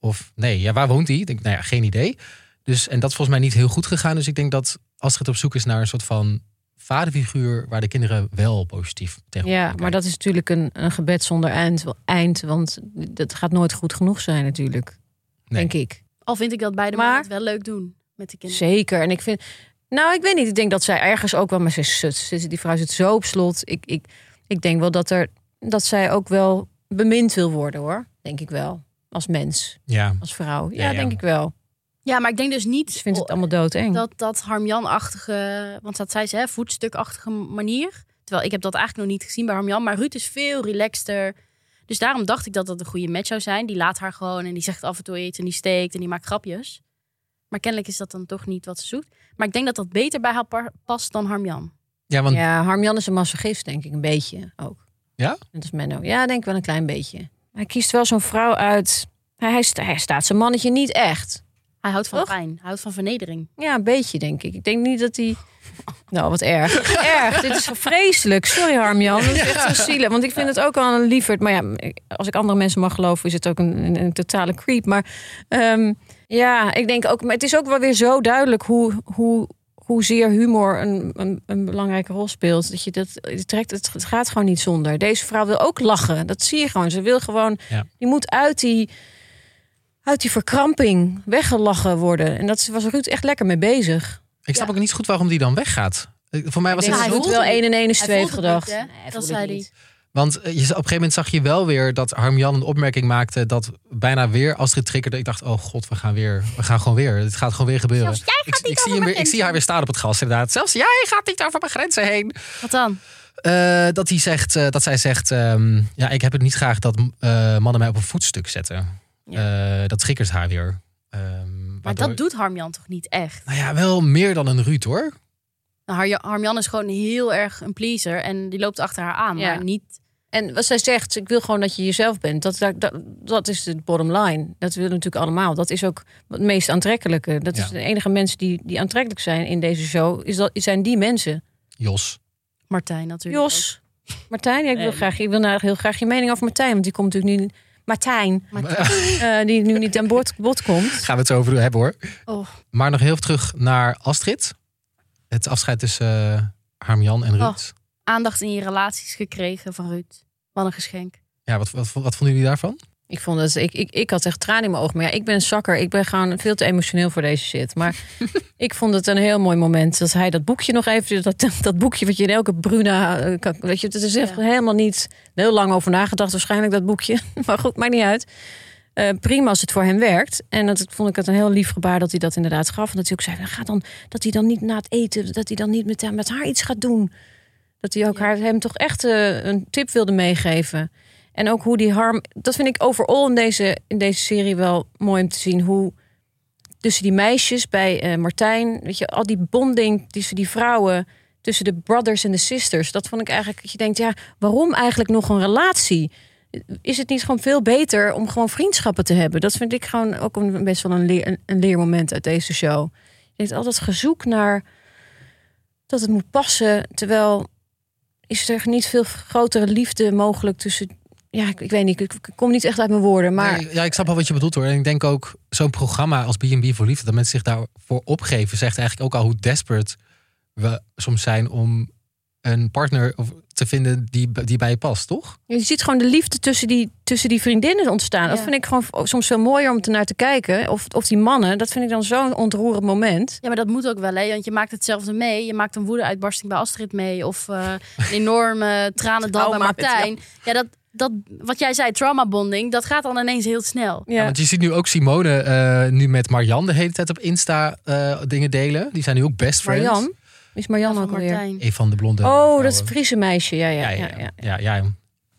Of nee, ja, waar woont hij? Ik denk, nou ja, geen idee. Dus, en dat is volgens mij niet heel goed gegaan. Dus ik denk dat Astrid op zoek is naar een soort van vaderfiguur... waar de kinderen wel positief tegen Ja, elkaar maar dat is natuurlijk een, een gebed zonder eind, eind, want dat gaat nooit goed genoeg zijn natuurlijk, Nee. denk ik. Al vind ik dat beide Maar- mannen het wel leuk doen met de kinderen. Zeker. En ik vind. Nou, ik weet niet. Ik denk dat zij ergens ook wel. Maar ze is zut. Ze is- Die vrouw zit zo op slot. Ik, ik, ik denk wel dat, er, dat zij ook wel bemind wil worden hoor. Denk ik wel. Als mens, Ja, als vrouw. Ja, Ja, ja. denk ik wel. Ja, maar ik denk dus niet Ze vindt het allemaal doodeng. dat dat Harmjan-achtige... Want dat zei ze, hè, voetstukachtige manier. Terwijl ik heb dat eigenlijk nog niet gezien bij Harmjan. Maar Ruud is veel relaxter. Dus daarom dacht ik dat dat een goede match zou zijn. Die laat haar gewoon en die zegt af en toe iets en die steekt en die maakt grapjes. Maar kennelijk is dat dan toch niet wat ze zoekt. Maar ik denk dat dat beter bij haar par- past dan Harmjan. Ja, want Ja, Harmjan is een massagist, denk ik, een beetje ook. Ja? Dat is Menno. Ja, denk ik wel een klein beetje. Hij kiest wel zo'n vrouw uit. Hij, hij, sta- hij staat zijn mannetje niet echt. Hij houdt van Toch? pijn. Hij houdt van vernedering. Ja, een beetje, denk ik. Ik denk niet dat hij... Nou, wat erg. erg. Dit is vreselijk. Sorry, Harmjan. Dat is echt zo zielig. Want ik vind het ook al een lieverd. Maar ja, als ik andere mensen mag geloven... is het ook een, een, een totale creep. Maar ehm, ja, ik denk ook... Maar het is ook wel weer zo duidelijk hoe... hoe Hoezeer humor een, een, een belangrijke rol speelt. Dat je dat het trekt, het, het gaat gewoon niet zonder. Deze vrouw wil ook lachen. Dat zie je gewoon. Ze wil gewoon. Ja. Die moet uit die, uit die verkramping weggelachen worden. En dat was Ruud echt lekker mee bezig. ik snap ook niet zo goed waarom die dan weggaat. Eh, Voor mij was ik het... denk hij dat Ruud voelde wel het. 1 en 1 is Hij 2 heeft voelde het gedacht. niet, hè? Dat voelde zei het hij. niet. Want eh, je, op een gegeven moment zag je wel weer dat Harmjan een opmerking maakte... dat bijna weer Astrid triggerde. Ik dacht, oh god, we gaan, weer, we gaan gewoon weer. Het gaat gewoon weer gebeuren. Zelfs jij ik, gaat niet ik, over zie hem weer, mijn ik zie haar grenzen. weer staan op het gas, inderdaad. Zelfs jij gaat niet over mijn grenzen heen. Wat dan? Eh, dat, hij zegt, eh, dat zij zegt, ehm, ja, ik heb het niet graag dat eh, mannen mij op een voetstuk zetten. Eh, dat triggert haar weer. Ehm, Maar waardoor- dat doet Harmjan toch niet echt? Nou ja, wel meer dan een Ruud hoor. Nou, Har- Harmjan is gewoon heel erg een pleaser. En die loopt achter haar aan. Ja. Maar niet... En wat zij zegt, ik wil gewoon dat je jezelf bent. Dat, dat, dat, dat is de bottom line. Dat willen we natuurlijk allemaal. Dat is ook het meest aantrekkelijke. Dat Ja. is de enige mensen die, die aantrekkelijk zijn in deze show. Is dat, zijn die mensen. Jos. Martijn natuurlijk. ook. Jos, Martijn, ja, ik, wil Nee. graag, ik wil nou heel graag je mening over Martijn. Want die komt natuurlijk nu... Martijn, eh, die nu niet aan bod, bod komt. Gaan we het zo over hebben hoor. Oh. Maar nog heel even terug naar Astrid. Het afscheid tussen eh, Harmjan en Ruud. Oh. Aandacht in je relaties gekregen van Ruud. Wat een geschenk. Ja, wat, wat, wat vonden jullie daarvan? Ik vond dat ik, ik, ik had echt tranen in mijn ogen. Maar ja, ik ben een zakker. Ik ben gewoon veel te emotioneel voor deze shit. Maar ik vond het een heel mooi moment dat hij dat boekje nog even. Dat, dat boekje wat je in elke Bruna. eh, kan- Weet je, het is echt Ja. helemaal niet. Heel lang over nagedacht, waarschijnlijk dat boekje. Maar goed, maakt niet uit. Eh, prima als het voor hem werkt. En dat vond ik het een heel lief gebaar dat hij dat inderdaad gaf. En dat hij ook zei: nou, ga dan, dat hij dan niet na het eten, dat hij dan niet met, met haar iets gaat doen. Dat hij ook haar, hem toch echt eh, een tip wilde meegeven. En ook hoe die harm. Dat vind ik overal in deze, in deze serie wel mooi om te zien. Hoe tussen die meisjes bij eh, Martijn. Weet je, al die bonding tussen die vrouwen. Tussen de brothers en de sisters. Dat vond ik eigenlijk. Dat je denkt, ja, waarom eigenlijk nog een relatie? Is het niet gewoon veel beter om gewoon vriendschappen te hebben? Dat vind ik gewoon ook een, best wel een, leer, een, een leermoment uit deze show. Je denkt altijd gezoek naar dat het moet passen. Terwijl is er niet veel grotere liefde mogelijk tussen. Ja, ik, ik weet niet. Ik, ik kom niet echt uit mijn woorden. Maar Nee, ja, ik snap wel wat je bedoelt hoor. En ik denk ook, zo'n programma als B&B voor Liefde... dat mensen zich daarvoor opgeven... zegt eigenlijk ook al hoe desperate we soms zijn... om een partner of- te vinden die, die bij je past, toch? Je ziet gewoon de liefde tussen die, tussen die vriendinnen ontstaan. Dat Ja. vind ik gewoon soms veel mooier om ernaar te kijken. Of, of die mannen, dat vind ik dan zo'n ontroerend moment. Ja, maar dat moet ook wel, hè? Want je maakt hetzelfde mee. Je maakt een woede-uitbarsting bij Astrid mee. Of eh, een enorme tranendal bij Trauma, Martijn. Ja, dat, dat, wat jij zei, trauma-bonding, dat gaat dan ineens heel snel. Ja, want je ziet nu ook Simone eh, nu met Marianne de hele tijd op Insta eh, dingen delen. Die zijn nu ook best friends. Marjan? Is Marjan Ja, ook van alweer? Martijn. Een van de blonde Oh, vrouwen. dat is het Friese meisje. Ja, ja, ja. ja, ja, ja, ja.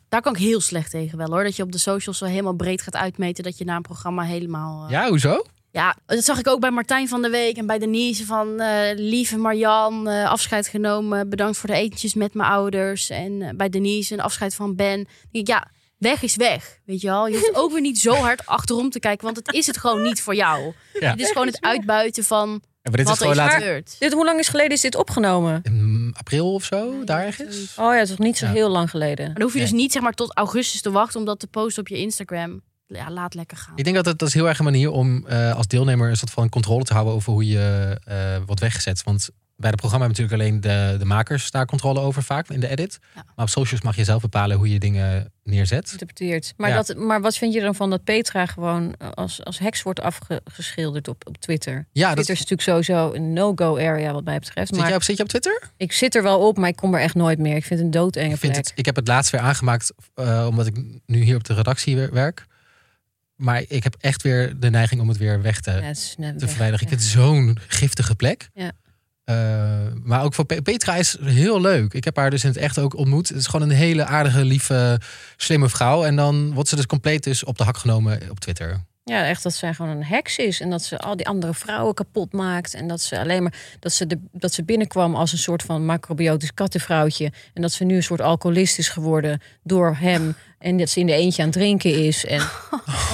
Daar kan ik heel slecht tegen wel, hoor. Dat je op de socials zo helemaal breed gaat uitmeten. Dat je na een programma helemaal... eh, Ja, hoezo? Ja, dat zag ik ook bij Martijn van de Week en bij Denise van eh, lieve Marjan, eh, afscheid genomen, bedankt voor de etentjes met mijn ouders. En eh, bij Denise een afscheid van Ben. Dan denk ik, ja, weg is weg, weet je wel. Je hoeft ook weer niet zo hard achterom te kijken, want het is het gewoon niet voor jou. Ja. Het is gewoon het uitbuiten van Ja, Maar dit is wat er gewoon is later gebeurd. Dit, hoe lang is geleden is dit opgenomen? in april of zo, daar ergens. Oh ja, het is nog niet zo Ja. heel lang geleden. Maar dan hoef je Nee. dus niet zeg maar tot augustus te wachten om dat te posten op je Instagram. Ja, laat lekker gaan. Ik denk dat het dat is heel erg een manier om eh, als deelnemer een soort van controle te houden over hoe je eh, wordt weggezet. Want bij het programma hebben natuurlijk alleen de, de makers daar controle over vaak in de edit. Ja. Maar op socials mag je zelf bepalen hoe je dingen neerzet. Interpreteert. Maar, Ja. dat, maar wat vind je dan van dat Petra gewoon eh, als, als heks wordt afgeschilderd op, op Twitter? Ja, dat, Twitter zit, is natuurlijk sowieso een no-go area wat mij betreft. Maar jij op, zit je op Twitter? ik zit er wel op, maar ik kom er echt nooit meer. Ik vind het een doodenge Ik, vind plek. het, ik heb het laatst weer aangemaakt, eh, omdat ik nu hier op de redactie wer- werk. Maar ik heb echt weer de neiging om het weer weg te, Ja, het is net te weg. verwijderen. Ja. Ik vind het zo'n giftige plek. Ja. Eh, maar ook voor Pe- Petra is heel leuk. Ik heb haar dus in het echt ook ontmoet. Het is gewoon een hele aardige, lieve, slimme vrouw. En dan wordt ze dus compleet dus op de hak genomen op Twitter. Ja, echt dat zij gewoon een heks is. En dat ze al die andere vrouwen kapot maakt. En dat ze alleen maar dat ze, de, dat ze binnenkwam als een soort van macrobiotisch kattenvrouwtje. En dat ze nu een soort alcoholist is geworden door hem. En dat ze in de eentje aan het drinken is. En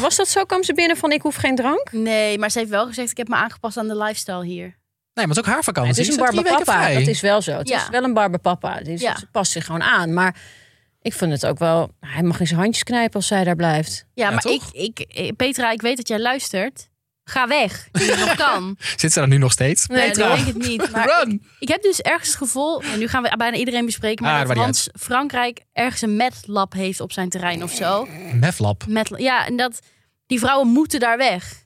was dat zo? Kwam ze binnen van ik hoef geen drank? Nee, maar ze heeft wel gezegd, ik heb me aangepast aan de lifestyle hier. Nee, maar het is ook haar vakantie. het is een Ze drie weken barbapapa. vrij. Dat is wel zo. Het Ja. is wel een barbapapa. Dus Ja. Ze past zich gewoon aan. Maar ik vind het ook wel. Hij mag in zijn handjes knijpen als zij daar blijft. Ja, Ja, maar ik, toch? ik, eh, Petra, ik weet dat jij luistert. Ga weg, nu het nog kan. Zit ze daar nu nog steeds? Nee, ik toch? denk het niet. Maar Run! Ik heb dus ergens het gevoel, en nu gaan we bijna iedereen bespreken, Ah, maar dat dat maakt Hans Frankrijk ergens een medlab heeft op zijn terrein of zo. Meflab. Met, ja, en dat die vrouwen moeten daar weg.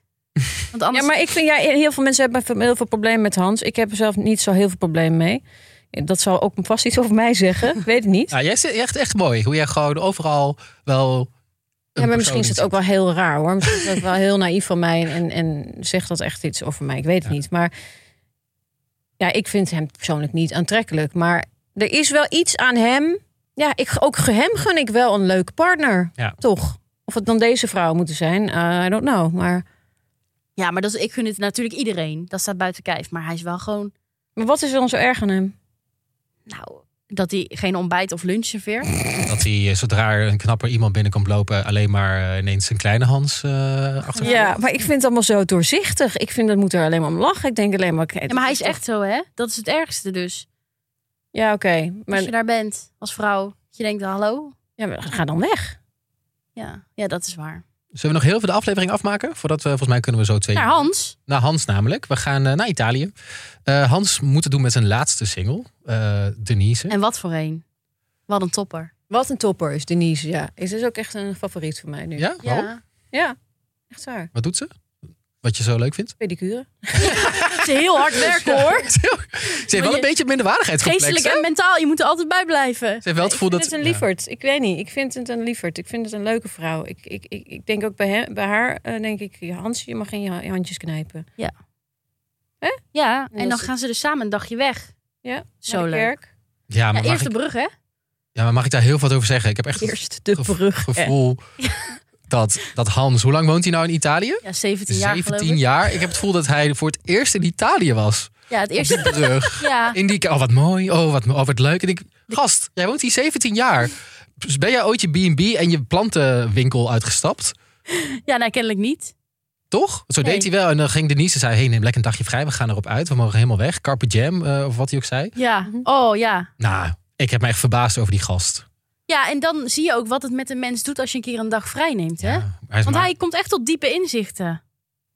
Want Ja, anders. maar ik vind, ja, heel veel mensen hebben heel veel problemen met Hans. Ik heb er zelf niet zo heel veel problemen mee. Dat zal ook vast iets over mij zeggen. Weet het niet. Ja, Ah, jij zit echt, echt mooi. Hoe jij gewoon overal wel. een Ja, maar persoon misschien is het in ook wel heel raar hoor. Misschien is dat wel heel naïef van mij en, en zegt dat echt iets over mij. Ik weet het niet. Maar ja, ik vind hem persoonlijk niet aantrekkelijk. Maar er is wel iets aan hem. Ja, ik, ook ge- hem gun ik wel een leuke partner. Ja. Toch? Of het dan deze vrouw moeten zijn, eh, I don't know. Maar, Ja, maar dat is, ik gun het natuurlijk iedereen. Dat staat buiten kijf. Maar hij is wel gewoon, maar wat is er dan zo erg aan hem? nou, dat hij geen ontbijt of lunch serveert. Dat hij eh, zodra er een knapper iemand binnen komt lopen, alleen maar eh, ineens een kleine Hans eh achter. Ja, maar ik vind het allemaal zo doorzichtig. Ik vind dat moet er alleen maar om lachen. Ik denk alleen maar. Ja, maar hij is echt zo, hè? Dat is het ergste dus. Ja, oké. Maar, Als je daar bent als vrouw, je denkt, hallo? ja, maar ga dan weg. Ja, ja dat is waar. Zullen we nog heel veel de aflevering afmaken? Voordat we, volgens mij kunnen we zo twee. Naar Hans. Naar Hans namelijk. We gaan eh, naar Italië. Eh, Hans moet het doen met zijn laatste single, eh, Denise. En wat voor een. Wat een topper. Wat een topper is Denise. Ja, is dus ook echt een favoriet voor mij nu. Ja? Waarom? Ja. Ja, echt waar. Wat doet ze? Wat je zo leuk vindt? Pedicure. Het is heel hard werken hoor. ze heeft wel je- een beetje minderwaardigheidscomplex. Geestelijk hè? en mentaal, je moet er altijd bij blijven. Ze heeft wel het gevoel ik vind dat... het een Ja. lieverd. Ik weet niet. Ik vind het een lieverd. Ik vind het een leuke vrouw. Ik, ik, ik, ik denk ook bij, hem, bij haar, eh, denk ik, Hans, je mag geen je je handjes knijpen. Ja, dat en dan is- gaan ze dus samen een dagje weg. Ja, Zo Naar de leuk. kerk. Ja, Ja, maar mag eerst ik, de brug, hè? ja, maar mag ik daar heel wat over zeggen? Ik heb echt het Eerst de gevo- brug. gevoel dat, dat Hans... Hoe lang woont hij nou in Italië? Ja, 17 jaar geloof 17 ik. jaar. Ik heb het gevoel dat hij voor het eerst in Italië was. Ja, het Op die eerste... brug. Ja, In die, oh, wat mooi. Oh, wat, oh, wat leuk. En ik, gast, jij woont hier 17 jaar. Dus ben jij ooit je B&B en je plantenwinkel uitgestapt? ja nou, kennelijk niet. Toch? Zo Nee. deed hij wel. En dan ging Denise en zei, hey, neem lekker een dagje vrij. We gaan erop uit. We mogen helemaal weg. Carpe jam, eh, of wat hij ook zei. Ja, oh ja. Nou, ik heb me echt verbaasd over die gast. Ja, en dan zie je ook wat het met een mens doet als je een keer een dag vrij neemt, hè? Ja, hij is Want maar- hij komt echt tot diepe inzichten.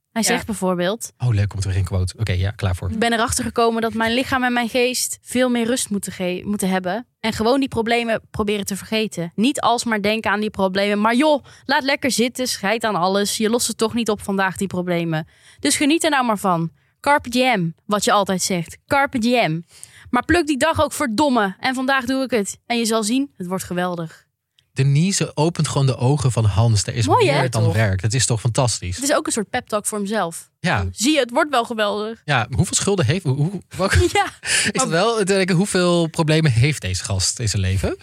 Hij zegt bijvoorbeeld, Oh, leuk, komt er weer een quote. Oké, ja, klaar voor. ik ben erachter gekomen dat mijn lichaam en mijn geest veel meer rust moeten, ge- moeten hebben. En gewoon die problemen proberen te vergeten. Niet alsmaar denken aan die problemen. Maar joh, laat lekker zitten, scheid aan alles. Je lost het toch niet op vandaag, die problemen. Dus geniet er nou maar van. Carpe diem, wat je altijd zegt. Carpe diem. Maar pluk die dag ook verdomme. En vandaag doe ik het. En je zal zien, het wordt geweldig. Denise opent gewoon de ogen van Hans. Er is Mooi, hè, meer dan toch? werk. Dat is toch fantastisch? Het is ook een soort pep talk voor hemzelf. Ja, Zie je, het wordt wel geweldig. ja. hoeveel schulden heeft... Hoe, hoe- welke- Ja, ik zat wel te denken, hoeveel problemen heeft deze gast in zijn leven?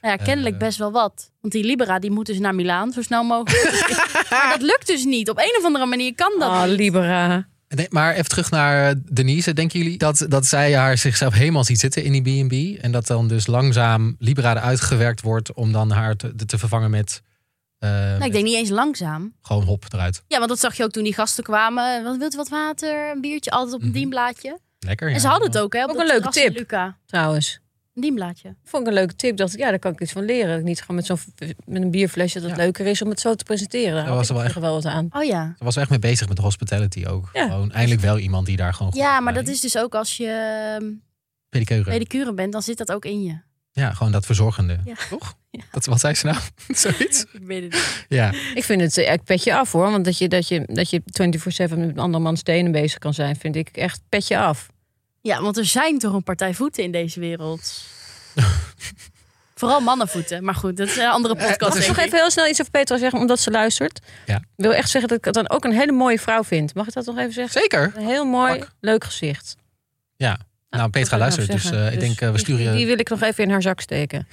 Nou ja, kennelijk Eh. best wel wat. Want die Libera die moet dus naar Milaan zo snel mogelijk. maar dat lukt dus niet. Op een of andere manier kan dat. Ah, niet. Libera. Nee, maar even terug naar eh, Denise. Denken jullie dat, dat zij haar zichzelf helemaal ziet zitten in die B&B? En dat dan dus langzaam Libera eruit gewerkt wordt... om dan haar te, te vervangen met... eh, Nou, ik met denk niet eens langzaam. Gewoon hop eruit. Ja, want dat zag je ook toen die gasten kwamen. Wat wilt u wat water? Een biertje, altijd op een Mhm. dienblaadje. Lekker, En ja. ze hadden het ook, hè? Op Ook dat een leuke terras in tip. Luca. Trouwens. Een dienblaadje. Vond ik een leuke tip. Dacht ik, ja, daar kan ik iets van leren. Dat ik Niet gewoon met, zo'n, met een bierflesje dat het Ja. leuker is om het zo te presenteren. Daar was had ik er wel op zich wel wat aan. Oh ja. Ze was er echt mee bezig met hospitality ook. Ja. Gewoon eindelijk wel iemand die daar gewoon... goed Ja, op maar dat leidt. is dus ook als je ehm, Pedicure. pedicure bent, dan zit dat ook in je. Ja, gewoon dat verzorgende. Ja. Toch? Ja. Dat, wat zei ze nou? Zoiets? Ik weet het niet. Ja. Ik vind het eh, ik pet je af hoor. Want dat je, dat je, dat je 24-7 met een andermans tenen bezig kan zijn, vind ik echt pet je af. Ja, want er zijn toch een partij voeten in deze wereld. Vooral mannenvoeten. Maar goed, dat is een andere Eh, dat podcast. is Mag denk ik ik. nog even heel snel iets over Petra zeggen, omdat ze luistert? Ja. Ik wil echt zeggen dat ik het dan ook een hele mooie vrouw vind. Mag ik dat nog even zeggen? Zeker. Een heel mooi, Pak. leuk gezicht. Nou, Petra Dat wil luistert, ik dus nog eh, zeggen. ik Dus denk eh, we die- sturen Die je... wil ik nog even in haar zak steken.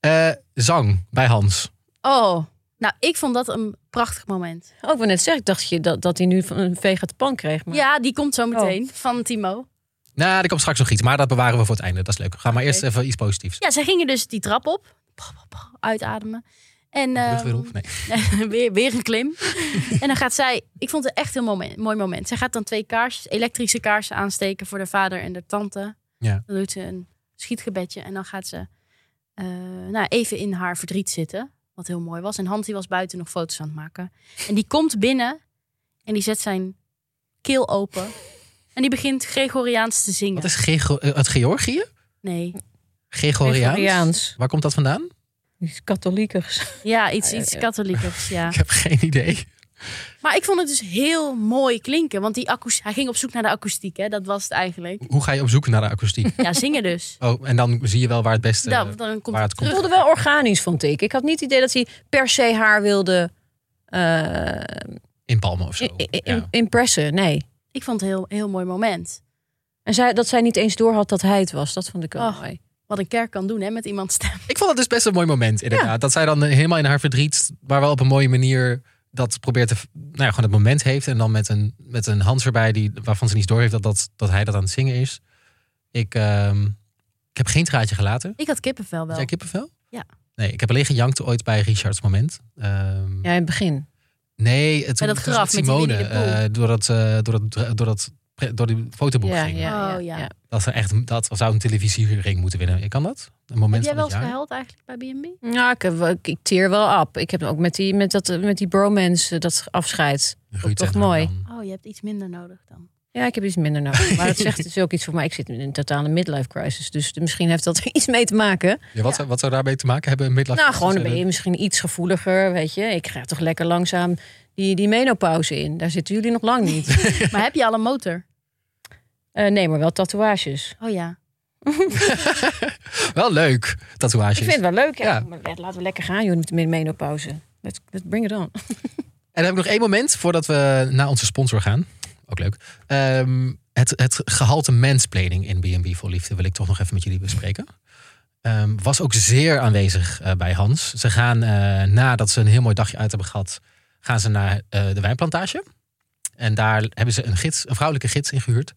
Eh, zang bij Hans. Oh, Nou, ik vond dat een prachtig moment. Ook wat net zeggen, Oh, ik dacht je dat, dat hij nu van een veeg uit de pan kreeg. Maar... Ja, die komt zo meteen van Timo. Nou, er komt straks nog iets, maar dat bewaren we voor het einde. Dat is leuk. Ga maar Oké. eerst even iets positiefs. Ja, zij gingen dus die trap op. Pa, pa, pa, Uitademen. En De Nou, lucht weer ehm, op? Nee. weer, weer een klim. en dan gaat zij, ik vond het echt een momen- mooi moment. Zij gaat dan twee kaars, elektrische kaarsen aansteken voor haar vader en haar tante. Ja. Dan doet ze een schietgebedje en dan gaat ze eh, nou, even in haar verdriet zitten. Wat heel mooi was. En Hans die was buiten nog foto's aan het maken. En die komt binnen en die zet zijn keel open. En die begint Gregoriaans te zingen. Wat is Gregor- eh, uit Georgië? Nee. Gregoriaans? Gregoriaans. Waar komt dat vandaan? Die katholiekers. Ja, iets, iets Eh, katholiekers, ja. Ik heb geen idee. Maar ik vond het dus heel mooi klinken. Want die akoes- hij ging op zoek naar de akoestiek, hè? dat was het eigenlijk. Hoe ga je op zoek naar de akoestiek? Ja, zingen dus. Oh, en dan zie je wel waar het beste... Nou, dan komt eh, waar het het Het terug. voelde wel organisch, vond ik. Ik had niet het idee dat hij per se haar wilde eh, in Palmen of zo. i- i- Ja. impressen. Nee. Ik vond het een heel, heel mooi moment. En zij, dat zij niet eens door had dat hij het was. Dat vond ik wel Oh. mooi. Wat een kerk kan doen hè, met iemands stem. Ik vond dat dus best een mooi moment, inderdaad. Dat zij dan eh, helemaal in haar verdriet, maar wel op een mooie manier dat probeert te. Nou ja, gewoon het moment heeft. En dan met een, met een Hans erbij, die, waarvan ze niets door heeft dat, dat, dat hij dat aan het zingen is. Ik, ehm, ik heb geen traatje gelaten. Ik had kippenvel Had wel. jij kippenvel? Ja. Nee, ik heb alleen gejankt ooit bij Richards moment. Ehm, Ja, in het begin. Nee, het, Bij dat het graf met die Winnie de Pooh. eh, door, dat, eh, door, dat, door, dat, door die fotoboek Ja, ging. ja, Oh, ja. Dat, ze echt, dat zou een televisiering moeten winnen. Kan dat? Een moment Heb van jij wel het eens jaar? gehuild eigenlijk bij B&B? Ja, ik, heb wel- ik, ik teer wel op. Ik heb ook met die, met dat, met die bromance eh, dat afscheid. Ruud Toch en mooi. Arjan. Oh, je hebt iets minder nodig dan. Ja, ik heb iets minder nodig. Maar dat zegt dus ook iets voor mij. Ik zit in een totale midlife crisis. Dus misschien heeft dat er iets mee te maken. Ja, wat, Zou, wat zou daarmee te maken hebben? Een midlife nou, crisis? gewoon dan ben je misschien iets gevoeliger, weet je. Ik ga toch lekker langzaam die, die menopauze in. Daar zitten jullie nog lang niet. Maar heb je al een motor? Eh, nee, maar wel tatoeages. Oh ja. Wel leuk, tatoeages. Ik vind het wel leuk. Ja. Ja. Maar let- laten we lekker gaan, jullie met de menopauze. Let's, let's bring it on. En dan heb ik nog één moment voordat we naar onze sponsor gaan. Ook leuk. Ehm, het, het gehalte mansplaining in B&B voor Liefde wil ik toch nog even met jullie bespreken. Ehm, was ook zeer aanwezig eh, bij Hans. Ze gaan, eh, nadat ze een heel mooi dagje uit hebben gehad, gaan ze naar eh, de wijnplantage. En daar hebben ze een, gids, een vrouwelijke gids ingehuurd.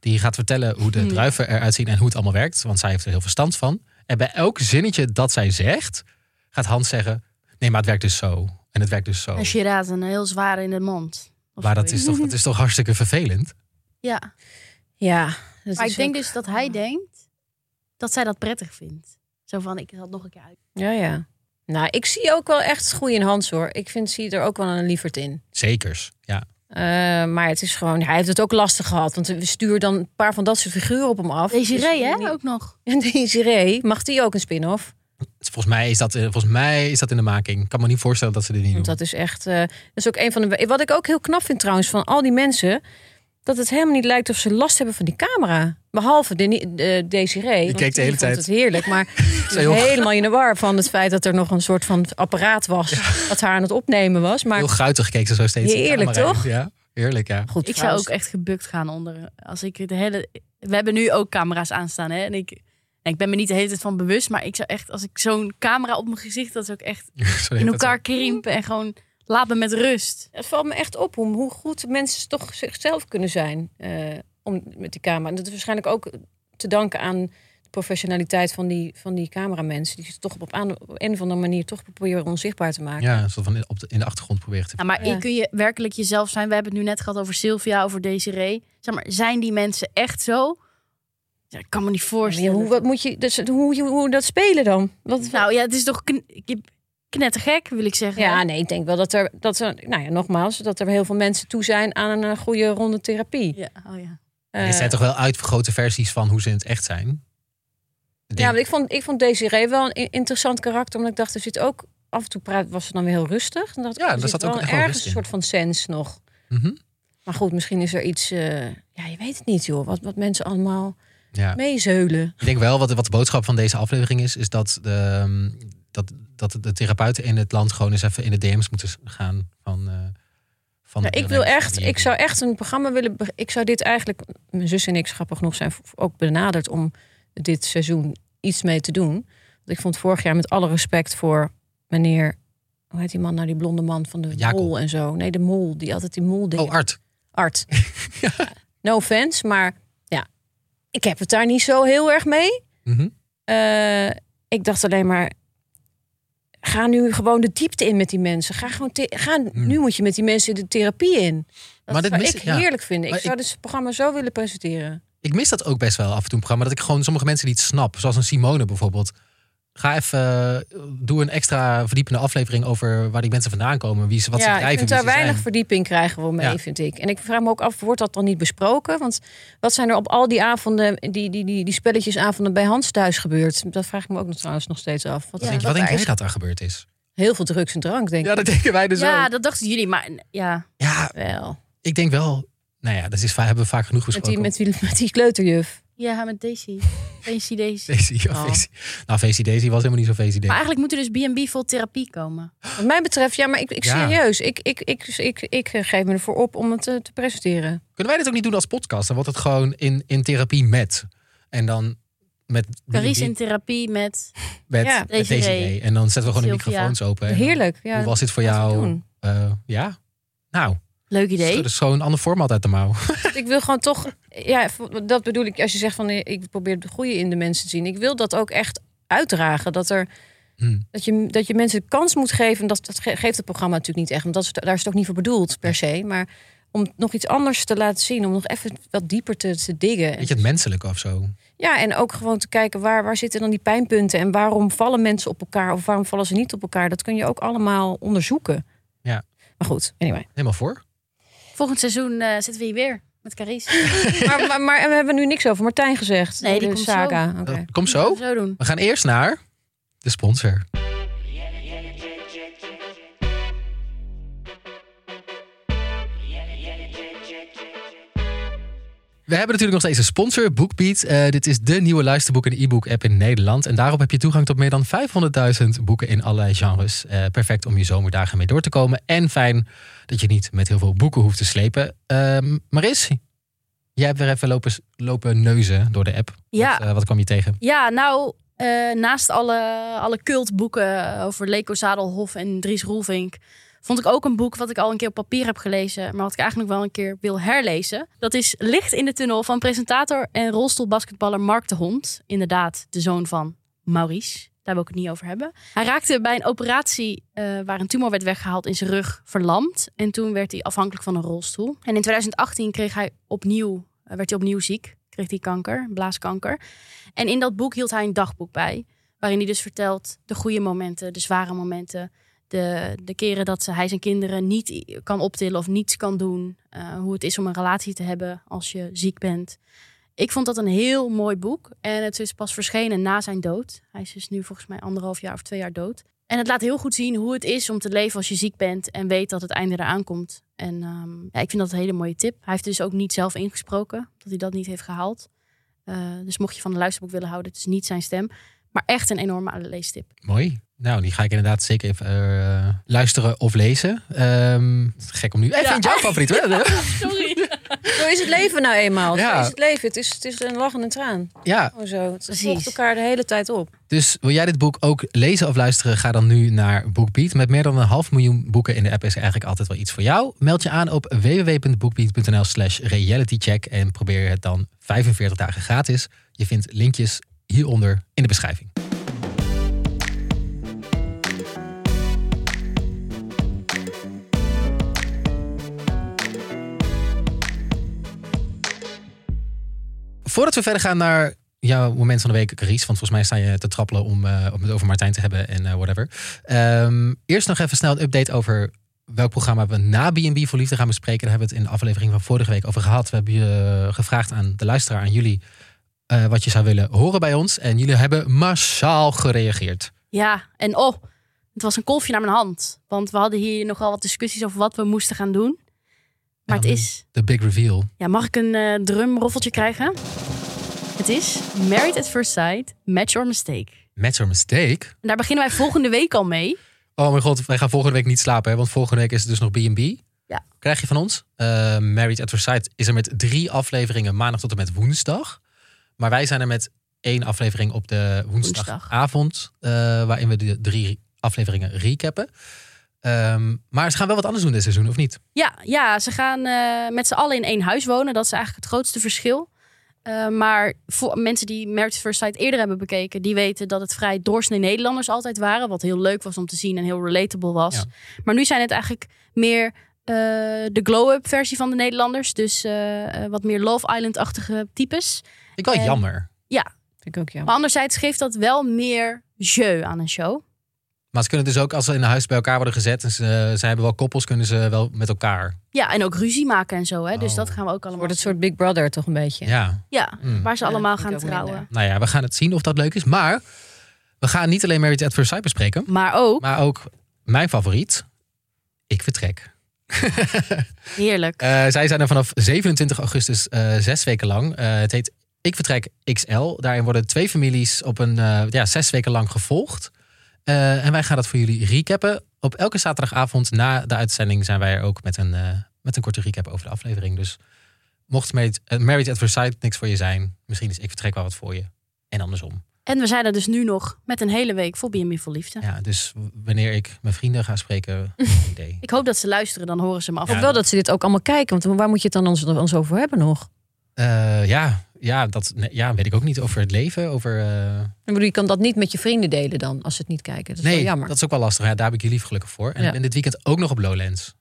Die gaat vertellen hoe de Hmm. druiven eruit zien en hoe het allemaal werkt. Want zij heeft er heel verstand van. En bij elk zinnetje dat zij zegt, gaat Hans zeggen... Nee, maar het werkt dus zo. En het werkt dus zo. En Shiraz, een heel zwaar in de mond. Of Maar dat zoiets. is, toch, dat is toch hartstikke vervelend? Ja, Ja. dat maar is ik denk ook- dus dat hij eh, denkt dat zij dat prettig vindt. Zo van, ik had nog een keer uit. Ja, ja. Nou, ik zie ook wel echt goede in Hans, hoor. Ik vind, zie er ook wel een lieverd in. Zekers, ja. Eh, maar het is gewoon, hij heeft het ook lastig gehad. Want we sturen dan een paar van dat soort figuren op hem af. Desiree, Dus- hè? Ook nog. En Desiree, mag die ook een spin-off? Volgens mij, is dat, eh, volgens mij is dat in de making. Ik kan me niet voorstellen dat ze dit niet doen. Want dat is echt, eh, dat is ook een van de. Wat ik ook heel knap vind trouwens van al die mensen, dat het helemaal niet lijkt of ze last hebben van die camera. Behalve de, eh Desiree. want keek de hele vond tijd. Het heerlijk, maar ze heel- was helemaal in de war van het feit dat er nog een soort van apparaat was dat haar aan het opnemen was. Maar Heel guitig keek ze zo steeds. in de Heerlijk, camera in. toch? Ja, heerlijk, ja. goed, Ik zou trouwens. ook echt gebukt gaan onder. Als ik de hele. We hebben nu ook camera's aanstaan, hè? En ik. en ik ben me niet de hele tijd van bewust, maar ik zou echt, als ik zo'n camera op mijn gezicht, dat zou ik echt Sorry, in dat- elkaar krimpen en gewoon laat me met rust. Het valt me echt op hoe, hoe goed mensen toch zichzelf kunnen zijn eh, om, met die camera. En dat is waarschijnlijk ook te danken aan de professionaliteit van die, van die cameramensen. Die ze toch op, aan, op een of andere manier toch proberen onzichtbaar te maken. Ja, een soort van in- op de, in de achtergrond proberen te... Nou, maar Ja. je- kun je werkelijk jezelf zijn? We hebben het nu net gehad over Sylvia, over Desiree. Zeg maar, zijn die mensen echt zo? Ja, ik kan me niet Ja, voorstellen. hoe, wat moet je, dus, hoe, hoe, hoe dat spelen dan? Wat, Nou ja, het is toch kn je- knettergek, wil ik zeggen. ja, nee, ik denk wel dat er, dat er, nou ja, nogmaals, dat er heel veel mensen toe zijn aan een eh, goede ronde therapie. Ja, oh ja. Dit Eh, zijn toch wel uitvergrote versies van hoe ze in het echt zijn? Ik Ja, denk- maar ik vond, ik vond Desiree wel een i- interessant karakter. Omdat ik dacht, er zit ook... Af en toe praat, was ze dan weer heel rustig. En dacht, ik, oh, Ja, er daar zat zit wel ook echt wel ergens rust een in. soort van sens nog. Mhm. Maar goed, misschien is er iets... eh, ja, je weet het niet, joh. Wat, wat mensen allemaal ja. meezeulen. Ik denk wel, wat, wat de boodschap van deze aflevering is... is dat de, ehm, dat, dat de therapeuten in het land gewoon eens even in de DM's moeten gaan van... eh, van Ja, de ik wil deelnemers echt... van die- Ik zou echt een programma willen... be- Ik zou dit eigenlijk... Mijn zus en ik, grappig genoeg, zijn v- ook benaderd... om dit seizoen iets mee te doen. Want ik vond vorig jaar, met alle respect voor meneer Hoe heet die man nou, die blonde man van de Jacob. mol en zo? Nee, de mol, die altijd die mol deed. Oh, Art. Art. No offense, maar ja, ik heb het daar niet zo heel erg mee. Mhm. Eh, ik dacht alleen maar, ga nu gewoon de diepte in met die mensen. Ga gewoon the- ga, Nu moet je met die mensen de therapie in. Dat Hmm. Maar dit zou mis- ik ja. heerlijk vinden. Ik Maar zou dit programma zo willen presenteren. Ik mis dat ook best wel af en toe in het programma. Dat ik gewoon sommige mensen niet snap. Zoals een Simone bijvoorbeeld. Ga even, eh, doe een extra verdiepende aflevering over waar die mensen vandaan komen. Wie ze, wat ze ja, drijven, ik vind wie daar ze weinig zijn. verdieping krijgen we mee, Ja. vind ik. En ik vraag me ook af, wordt dat dan niet besproken? Want wat zijn er op al die avonden, die, die, die, die spelletjesavonden bij Hans thuis gebeurd? Dat vraag ik me ook nog, trouwens nog steeds af. Wat Wat, denk, je- wat wat denk jij is- dat daar gebeurd is? Heel veel drugs en drank, denk ik. Ja, dat denken wij dus Ja, ook. dat dachten jullie, maar ja. Ja, Wel. ik denk wel. Nou ja, dat is, va- hebben we vaak genoeg Met besproken. die, met, die, met die kleuterjuf. Ja, met Daisy. Daisy, Daisy. Daisy, Oh. oh. Daisy. Nou, Daisy Daisy was helemaal niet zo Daisy Maar Daisy. eigenlijk moet er dus B&B vol therapie komen. Wat mij betreft, ja, maar ik, ik Ja. serieus. Ik, ik, ik, ik, ik, eh, geef me ervoor op om het eh, te presenteren. Kunnen wij dit ook niet doen als podcast? Dan wordt het gewoon in, in therapie met. En dan met Carice met, in therapie met... met ja, Daisy Desiree. Day. En dan zetten we gewoon de Sylvia. microfoons open. En dan- Heerlijk. Ja, Hoe was dit voor laten we jou? doen. Eh, ja. Nou, Leuk dat idee. is zo'n ander format uit de mouw. ik wil gewoon toch... Ja, dat bedoel ik. Als je zegt van, eh, ik probeer het goede in de mensen te zien. Ik wil dat ook echt uitdragen. Dat, er, Hm. dat, je, dat je mensen de kans moet geven. En Dat, dat ge- geeft het programma natuurlijk niet echt. Want dat is, daar is het ook niet voor bedoeld, per se. Maar om nog iets anders te laten zien. Om nog even wat dieper te, te diggen. Weet je, het menselijke of zo. Ja, en ook gewoon te kijken waar, waar zitten dan die pijnpunten en waarom vallen mensen op elkaar of waarom vallen ze niet op elkaar. Dat kun je ook allemaal onderzoeken. Ja. Maar goed, anyway. Helemaal voor. Volgend seizoen eh, zitten we hier weer met Carice. maar, maar, maar we hebben nu niks over Martijn gezegd. Nee, die De komt saga. Oké. Eh, Kom zo. Zo doen. We gaan eerst naar de sponsor. We hebben natuurlijk nog steeds een sponsor, BookBeat. Eh, dit is de nieuwe luisterboek- en e-book-app in Nederland. En daarop heb je toegang tot meer dan 500.000 boeken in allerlei genres. Eh, perfect om je zomerdagen mee door te komen. En fijn dat je niet met heel veel boeken hoeft te slepen. Ehm Maris, jij hebt weer even lopen, lopen neuzen door de app. Ja. Wat, eh, wat kwam je tegen? Ja, nou, eh, naast alle, alle cultboeken eh, over Leko Zadelhof en Dries Roelvink... vond ik ook een boek wat ik al een keer op papier heb gelezen... maar wat ik eigenlijk wel een keer wil herlezen. Dat is Licht in de Tunnel van presentator en rolstoelbasketballer Mark de Hond. Inderdaad, de zoon van Maurice. Daar wil ik het niet over hebben. Hij raakte bij een operatie eh, waar een tumor werd weggehaald in zijn rug verlamd. En toen werd hij afhankelijk van een rolstoel. En in 2018 kreeg hij opnieuw, eh, werd hij opnieuw ziek. Kreeg hij kanker, blaaskanker. En in dat boek hield hij een dagboek bij. Waarin hij dus vertelt de goede momenten, de zware momenten. De, de keren dat ze- hij zijn kinderen niet i- kan optillen of niets kan doen. eh, hoe het is om een relatie te hebben als je ziek bent. Ik vond dat een heel mooi boek. En het is pas verschenen na zijn dood. Hij is dus nu volgens mij anderhalf jaar of twee jaar dood. En het laat heel goed zien hoe het is om te leven als je ziek bent. En weet dat het einde eraan komt. En ehm, ja, ik vind dat een hele mooie tip. Hij heeft dus ook niet zelf ingesproken. Dat hij dat niet heeft gehaald. Eh, dus mocht je van een luisterboek willen houden, het is niet zijn stem. Maar echt een enorme aanleestip. Mooi. Nou, die ga ik inderdaad zeker even eh, luisteren of lezen. Ehm, het is gek om nu even Ja. in jouw favoriet. hè? Ja. Sorry. Zo is het leven nou eenmaal. Zo Ja. is het leven. Het is, het is een lachende traan. Oh, zo. Het Precies. volgt elkaar de hele tijd op. dus wil jij dit boek ook lezen of luisteren? Ga dan nu naar BookBeat. Met meer dan een half miljoen boeken in de app is er eigenlijk altijd wel iets voor jou. Meld je aan op www.bookbeat.nl slash realitycheck en probeer het dan 45 dagen gratis. Je vindt linkjes hieronder in de beschrijving. Voordat we verder gaan naar jouw moment van de week, Carice. Want volgens mij sta je te trappelen om, eh, om het over Martijn te hebben en eh, whatever. Ehm, eerst nog even snel een update over welk programma we na B&B voor Liefde gaan bespreken. Daar hebben we het in de aflevering van vorige week over gehad. We hebben je eh, gevraagd aan de luisteraar, aan jullie, eh, wat je zou willen horen bij ons. En jullie hebben massaal gereageerd. Ja, en oh, het was een kolfje naar mijn hand. Want we hadden hier nogal wat discussies over wat we moesten gaan doen. Maar het Ja, is... De big reveal. Ja, mag ik een eh, drumroffeltje krijgen? Het is Married at First Sight, Match or Mistake. Match or mistake? En daar beginnen wij volgende week al mee. Oh mijn god, wij gaan volgende week niet slapen, hè? want volgende week is het dus nog B&B. Ja. Krijg je van ons. Eh, Married at First Sight is er met drie afleveringen maandag tot en met woensdag. Maar wij zijn er met één aflevering op de woensdagavond, eh, waarin we de drie afleveringen recappen. Ehm, maar ze gaan wel wat anders doen dit seizoen, of niet? Ja, ja ze gaan eh, met z'n allen in één huis wonen. Dat is eigenlijk het grootste verschil. Eh, maar voor mensen die Marriage at First Sight eerder hebben bekeken... die weten dat het vrij doorsnee Nederlanders altijd waren. Wat heel leuk was om te zien en heel relatable was. Ja. Maar nu zijn het eigenlijk meer eh, de glow-up versie van de Nederlanders. Dus eh, eh, wat meer Love Island-achtige types. Ik wel Eh, jammer. Vind ik ook jammer. Maar anderzijds geeft dat wel meer jeu aan een show. Maar ze kunnen dus ook, als ze in een huis bij elkaar worden gezet en ze, eh, ze hebben wel koppels, kunnen ze wel met elkaar. Ja, en ook ruzie maken en zo. Hè? Dus Oh. dat gaan we ook Het allemaal... wordt een soort Big Brother toch een beetje. Ja. Ja, Mm. waar ze Ja, allemaal vind ik gaan ook minder. trouwen. Nou ja, we gaan het zien of dat leuk is. Maar we gaan niet alleen Married at First Sight bespreken, Maar ook, maar ook mijn favoriet. Ik vertrek. heerlijk. Eh, zij zijn er vanaf 27 augustus eh, zes weken lang. Eh, het heet Ik Vertrek XL. Daarin worden twee families op een eh, ja, zes weken lang gevolgd. Eh, en wij gaan dat voor jullie recappen. Op elke zaterdagavond na de uitzending zijn wij er ook met een, eh, met een korte recap over de aflevering. Dus mocht Married, eh, Married at First Sight niks voor je zijn, misschien is Ik Vertrek wel wat voor je. En andersom. En we zijn er dus nu nog met een hele week voor B&B voor Liefde. Ja, dus w- wanneer ik mijn vrienden ga spreken, geen idee. Ik hoop dat ze luisteren, dan horen ze me af. Ja. Ik hoop wel dat ze dit ook allemaal kijken, want waar moet je het dan ons, ons over hebben nog? Eh, ja, ja, dat nee, ja, weet ik ook niet. Over het leven, over... eh, Ik bedoel, je kan dat niet met je vrienden delen dan, als ze het niet kijken. Dat is nee, wel jammer. dat is ook wel lastig. Ja, daar heb ik jullie gelukkig voor. En Ja. ik ben dit weekend ook nog op Lowlands.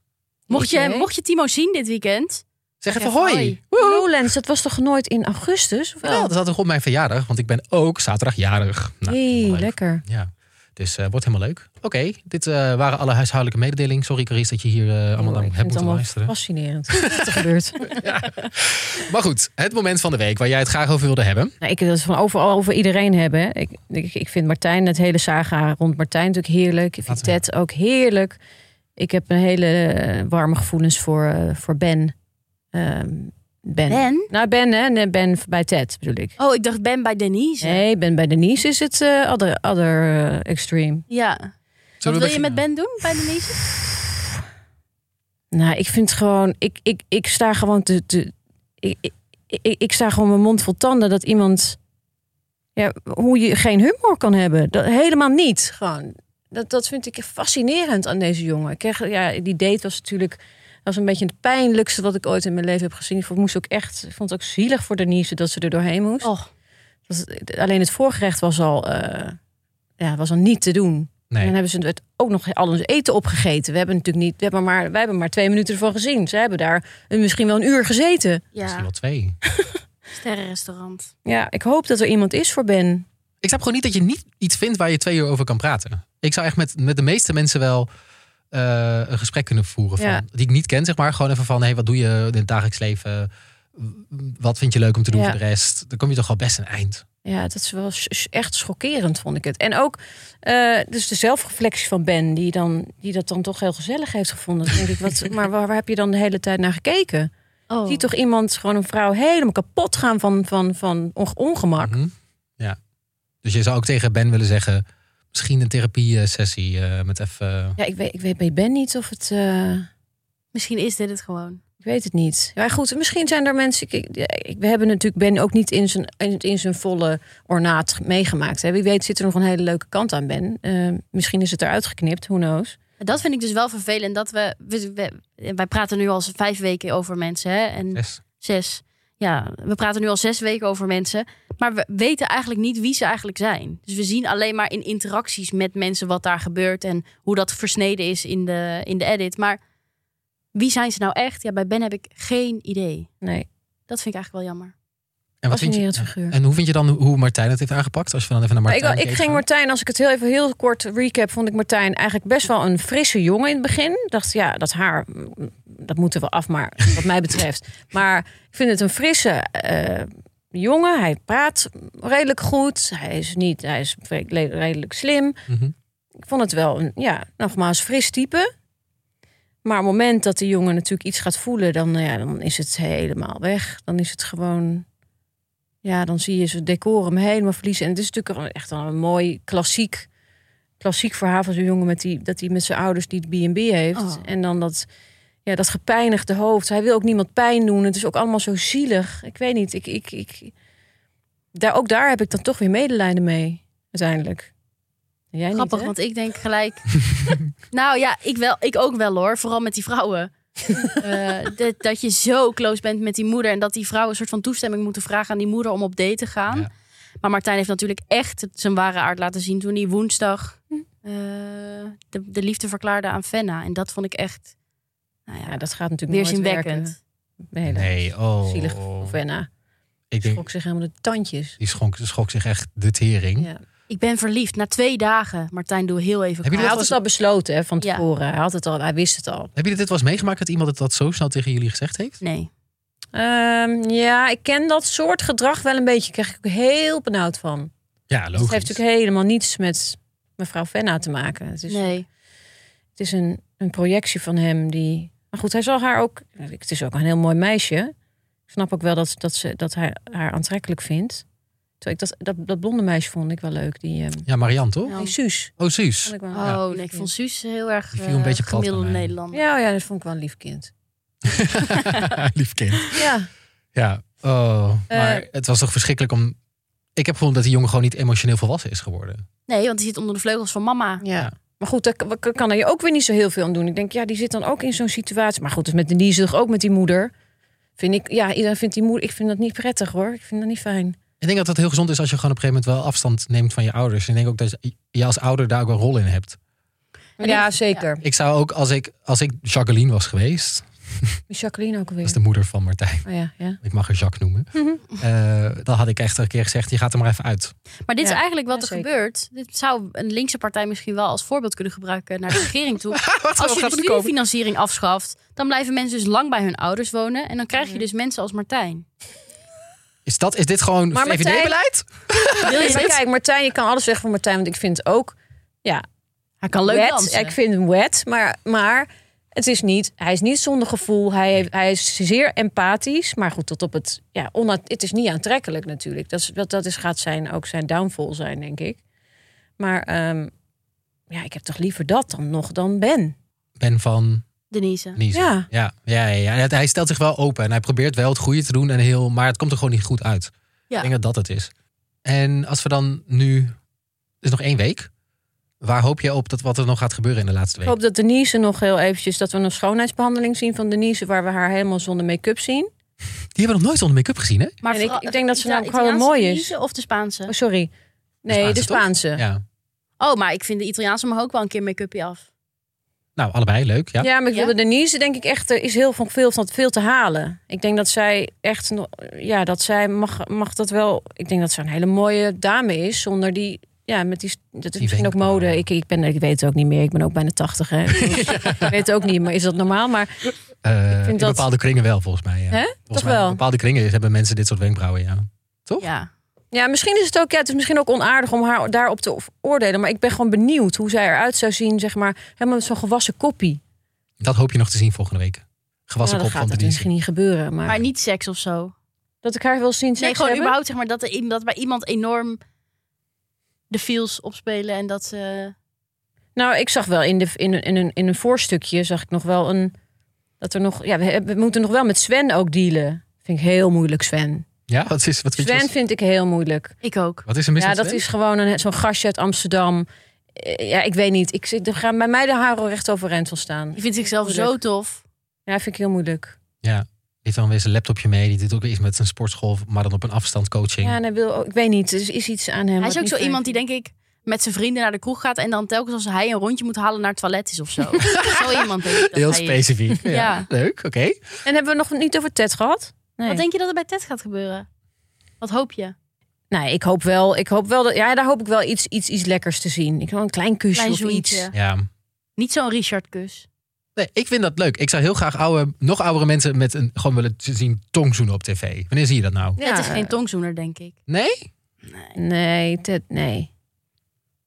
Mocht je, Oké. mocht je Timo zien dit weekend... Zeg even Zeg hoi. hoi. Lowlands, dat was toch nooit in augustus? Of Ja, dat wel? is altijd op mijn verjaardag, want ik ben ook zaterdag jarig. Nou, Hey, helemaal leuk. lekker. Ja, dus eh, wordt helemaal leuk. Oké, dit eh, waren alle huishoudelijke mededelingen. Sorry Carice dat je hier eh, allemaal Oh, naar hebt ik vind het moeten allemaal luisteren. Fascinerend. Wat er gebeurt. Maar goed, het moment van de week waar jij het graag over wilde hebben. Nou, ik wil het van overal over iedereen hebben. hè. Ik, ik, ik vind Martijn, het hele saga rond Martijn natuurlijk heerlijk. Ik vind Laten we- Ted ook heerlijk. Ik heb een hele eh, warme gevoelens voor, eh, voor Ben. Ehm, ben. Ben? Nou, Ben, hè? Nee, Ben bij Ted bedoel ik. Oh, ik dacht Ben bij Denise. Nee, Ben bij Denise is het eh other, other eh, extreme. Ja. Wat wil je beginnen? met Ben doen bij Denise? Nou, ik vind gewoon, ik, ik, ik sta gewoon te. te ik, ik, ik, ik sta gewoon mijn mond vol tanden dat iemand. Ja, hoe je geen humor kan hebben. Dat, helemaal niet. Gewoon. Dat, dat vind ik fascinerend aan deze jongen. Ik kreeg, ja, die date was natuurlijk. was een beetje het pijnlijkste wat ik ooit in mijn leven heb gezien. Ik moest ook echt. Ik vond het ook zielig voor Denise dat ze er doorheen moest. Oh, Dat- alleen het voorgerecht was al. eh, ja, was al niet te doen. En Nee. dan hebben ze het ook nog al ons eten opgegeten. We hebben natuurlijk niet, we hebben maar, wij hebben maar twee minuten ervan gezien. Ze hebben daar een- misschien wel een uur gezeten. Misschien ja. wel twee. Sterrenrestaurant. Ja, ik hoop dat er iemand is voor Ben. Ik snap gewoon niet dat je niet iets vindt waar je twee uur over kan praten. Ik zou echt met, met de meeste mensen wel eh, een gesprek kunnen voeren. Van, Ja. Die ik niet ken, zeg maar. Gewoon even van, hey, wat doe je in het dagelijks leven? Wat vind je leuk om te doen Ja. voor de rest? Dan kom je toch al best een eind. Ja, dat is wel s- s- echt schokkerend, vond ik het. En ook eh, dus de zelfreflectie van Ben, die, dan, die dat dan toch heel gezellig heeft gevonden. Dan denk ik, wat, maar waar, waar heb je dan de hele tijd naar gekeken? Oh. Zie toch iemand, gewoon een vrouw, helemaal kapot gaan van, van, van onge- ongemak? Mhm. Ja. Dus je zou ook tegen Ben willen zeggen... Misschien een therapie-sessie eh, met even... Ja, ik weet, ik weet bij Ben niet of het... eh, Misschien is dit het gewoon. Ik weet het niet. Maar goed, misschien zijn er mensen. Ik, ik- we hebben natuurlijk Ben ook niet in zijn, in, in zijn volle ornaat ge- meegemaakt. Hè. Wie weet zit er nog een hele leuke kant aan Ben. Eh, misschien is het eruit geknipt, who knows. Dat vind ik dus wel vervelend. Dat we, we- we- wij praten nu al vijf weken over mensen. Hè? En Yes. zes. Ja, we praten nu al zes weken over mensen. Maar we weten eigenlijk niet wie ze eigenlijk zijn. Dus we zien alleen maar in interacties met mensen wat daar gebeurt. En hoe dat versneden is in de, in de edit. Maar wie zijn ze nou echt? Ja, bij Ben heb ik geen idee. Nee, Dat vind ik eigenlijk wel jammer. En, wat vind je, fascinerend figuur. en hoe vind je dan hoe Martijn het heeft aangepakt? Als we dan even naar Maar Martijn ik, ik kijken? ging Martijn, als ik het heel even heel kort recap, vond ik Martijn eigenlijk best wel een frisse jongen in het begin. Dacht, ja, dat haar, mm, dat moeten we af, maar wat mij betreft. Maar ik vind het een frisse eh, jongen. Hij praat redelijk goed. Hij is niet, hij is re- redelijk slim. Mhm. ik vond het wel een, ja, nogmaals, fris type. Maar op het moment dat de jongen natuurlijk iets gaat voelen, dan, nou ja, dan is het helemaal weg. Dan is het gewoon, ja, dan zie je zijn decor hem helemaal verliezen. En het is natuurlijk echt wel een mooi klassiek, klassiek verhaal van zo'n jongen met die, dat hij met zijn ouders die het B&B heeft. Oh. En dan dat, ja, dat gepijnigde hoofd. Hij wil ook niemand pijn doen. Het is ook allemaal zo zielig. Ik weet niet, ik, ik, ik, daar, ook daar heb ik dan toch weer medelijden mee, uiteindelijk. Jij niet, Grappig, hè? want ik denk gelijk. nou ja, ik, wel, ik ook wel hoor. Vooral met die vrouwen. Eh, dat, dat je zo close bent met die moeder. En dat die vrouwen een soort van toestemming moeten vragen aan die moeder om op date te gaan. Ja. Maar Martijn heeft natuurlijk echt zijn ware aard laten zien toen hij woensdag eh, de, de liefde verklaarde aan Fenna. En dat vond ik echt nou ja, Ja, dat gaat natuurlijk nooit werken. weerzinwekkend. Nee, dat- Nee, oh. Zielig voor Venna. Ik denk, Schrok zich helemaal de tandjes. die schonk, schrok zich echt de tering. Ja. Ik ben verliefd. Na twee dagen. Martijn, doe heel even Heb je Hij kalm. had het al besloten hè, van Ja. tevoren. Hij, had het al, hij wist het al. Hebben jullie dit wel eens meegemaakt dat iemand het dat zo snel tegen jullie gezegd heeft? Nee. Ehm, ja, ik ken dat soort gedrag wel een beetje. Daar krijg ik ook heel benauwd van. Ja, Dus het heeft logisch. natuurlijk helemaal niets met mevrouw Venna te maken. Het is, Nee. het is een, een projectie van hem die... Maar goed, hij zal haar ook... Het is ook een heel mooi meisje. Ik snap ook wel dat, dat, ze, dat hij haar aantrekkelijk vindt. Terwijl ik dat, dat, dat blonde meisje vond ik wel leuk. Die, ehm Ja, Marianne toch? Ja. die Suus. Oh, Suus. Vond ik wel een Oh, lief nee, ik kind. vond Suus heel erg Die viel een eh, beetje plat bij gemiddelde mij. Nederlander. Ja, ja, dat vond ik wel een lief kind. Lief kind. Ja. Ja, oh. Eh. Maar het was toch verschrikkelijk om... Ik heb gewoon dat die jongen gewoon niet emotioneel volwassen is geworden. Nee, want die zit onder de vleugels van mama. Ja. Ja. Maar goed, daar k- kan hij ook weer niet zo heel veel aan doen. Ik denk, ja, die zit dan ook in zo'n situatie. Maar goed, dus met Denise toch ook met die moeder. Vind ik, ja, iedereen vindt die moeder, ik vind dat niet prettig hoor. Ik vind dat niet fijn. Ik denk dat het heel gezond is als je gewoon op een gegeven moment wel afstand neemt van je ouders. En ik denk ook dat je als ouder daar ook een rol in hebt. Ja, zeker. Ik zou ook, als ik, als ik Jacqueline was geweest, Die Jacqueline ook dat alweer. is de moeder van Martijn. Oh ja, ja. Ik mag haar Jacques noemen. Mhm. Eh, dan had ik echt een keer gezegd, je gaat er maar even uit. Maar dit Ja, is eigenlijk wat ja, er zeker. gebeurt. Dit zou een linkse partij misschien wel als voorbeeld kunnen gebruiken naar de regering toe. Als je de studiefinanciering afschaft, dan blijven mensen dus lang bij hun ouders wonen. En dan krijg je dus mensen als Martijn. Is, dat, is dit gewoon Maar Martijn- VVD-beleid? Wil je Maar dit? kijk, Martijn, je kan alles zeggen van Martijn. Want ik vind het ook Hij kan leuk wet. dansen. Ik vind hem wet, maar, maar het is niet, hij is niet zonder gevoel. Hij, heeft- hij is zeer empathisch, maar goed, tot op het... Ja, ona- het is niet aantrekkelijk natuurlijk. Dat, is, dat, dat is, gaat zijn, ook zijn downfall zijn, denk ik. Maar ehm, ja, ik heb toch liever dat dan nog dan Ben. Ben van Denise. Niezen. Ja. Ja, ja, ja, ja. En het- Hij stelt zich wel open en hij probeert wel het goede te doen. En heel, maar het komt er gewoon niet goed uit. Ja. Ik denk dat dat het is. En als we dan nu... Er is nog één week. Waar hoop je op dat wat er nog gaat gebeuren in de laatste Ik week? hoop dat Denise nog heel eventjes... dat we een schoonheidsbehandeling zien van Denise... waar we haar helemaal zonder make-up zien. Die hebben we nog nooit zonder make-up gezien, hè? Maar En ik- vooral- ik denk dat ze nou Ita- ook gewoon Italiaanse mooi is. Denise Of de Spaanse. Oh, sorry. Nee, de Spaanse, toch? Spaanse. Ja. Oh, maar ik vind de Italiaanse mag ook wel een keer make-upje af. Nou, allebei leuk, ja. Ja, maar ik Ja? wilde Denise, denk ik echt, er is heel van veel, van veel te halen. Ik denk dat zij echt, nog- ja, dat zij mag, mag dat wel. Ik denk dat zij een hele mooie dame is, zonder die, ja, met die, dat is Die misschien ook wenkbrauwen. mode. Ik, ik ben, ik weet het ook niet meer. Ik ben ook bijna 80, hè. ik weet het ook niet, maar is dat normaal? Maar Eh, in dat- bepaalde kringen wel, volgens mij. Ja. Hè? Volgens Toch mij wel? In bepaalde kringen hebben mensen dit soort wenkbrauwen, ja. Toch? Ja. ja, misschien is het ook, ja, het is misschien ook onaardig om haar daarop te oordelen. Maar ik ben gewoon benieuwd hoe zij eruit zou zien, zeg maar, helemaal met zo'n gewassen koppie. Dat hoop je nog te zien volgende week. Gewassen Nou, dat kop van gaat de dat dienst. misschien niet gebeuren, maar, Maar niet seks of zo. dat ik haar wil zien. Nee, seks gewoon hebben? überhaupt zeg maar dat, er, dat bij iemand enorm de feels opspelen en dat eh, ze... Nou, ik zag wel in, de, in, een- in, een, in een voorstukje zag ik nog wel een. Dat er nog. Ja, we, hebben- we moeten nog wel met Sven ook dealen. Vind ik heel moeilijk, Sven. Ja, wat is, wat vind je Sven als- vind ik heel moeilijk. Ik ook. wat is er mis Ja, met dat Sven? is gewoon een- zo'n gastje uit Amsterdam. Eh, Ja, ik weet niet. Ik, zit- er gaan bij mij de haren recht overeind van staan. Die vindt zichzelf zo Moeilijk. tof. Ja, vind ik heel moeilijk. Die heeft dan weer zijn laptopje mee. Die doet ook weer iets met zijn sportschool, maar dan op een afstand coaching. Ja, en hij wil, ook- ik weet niet. Er is- is iets aan hem. Hij wat is ook niet zo fijn iemand die vind. denk ik met zijn vrienden naar de kroeg gaat en dan telkens als hij een rondje moet halen naar het toilet is of zo. zo iemand denk ik dat Heel hij is. specifiek. ja. Ja. Leuk, oké. En hebben we nog niet over Ted gehad? Nee. Wat denk je dat er bij Ted gaat gebeuren? Wat hoop je? Nee, ik hoop wel. Ik hoop wel dat, ja, daar hoop ik wel iets, iets, iets lekkers te zien. Ik wil een klein kusje Klein of iets. zoentje. Ja. Niet zo'n Richard kus. Nee, ik vind dat leuk. Ik zou heel graag oude, nog oudere mensen met een, gewoon willen zien tongzoenen op tv. Wanneer zie je dat nou? het is geen tongzoener denk ik. Nee? Nee, Ted, nee.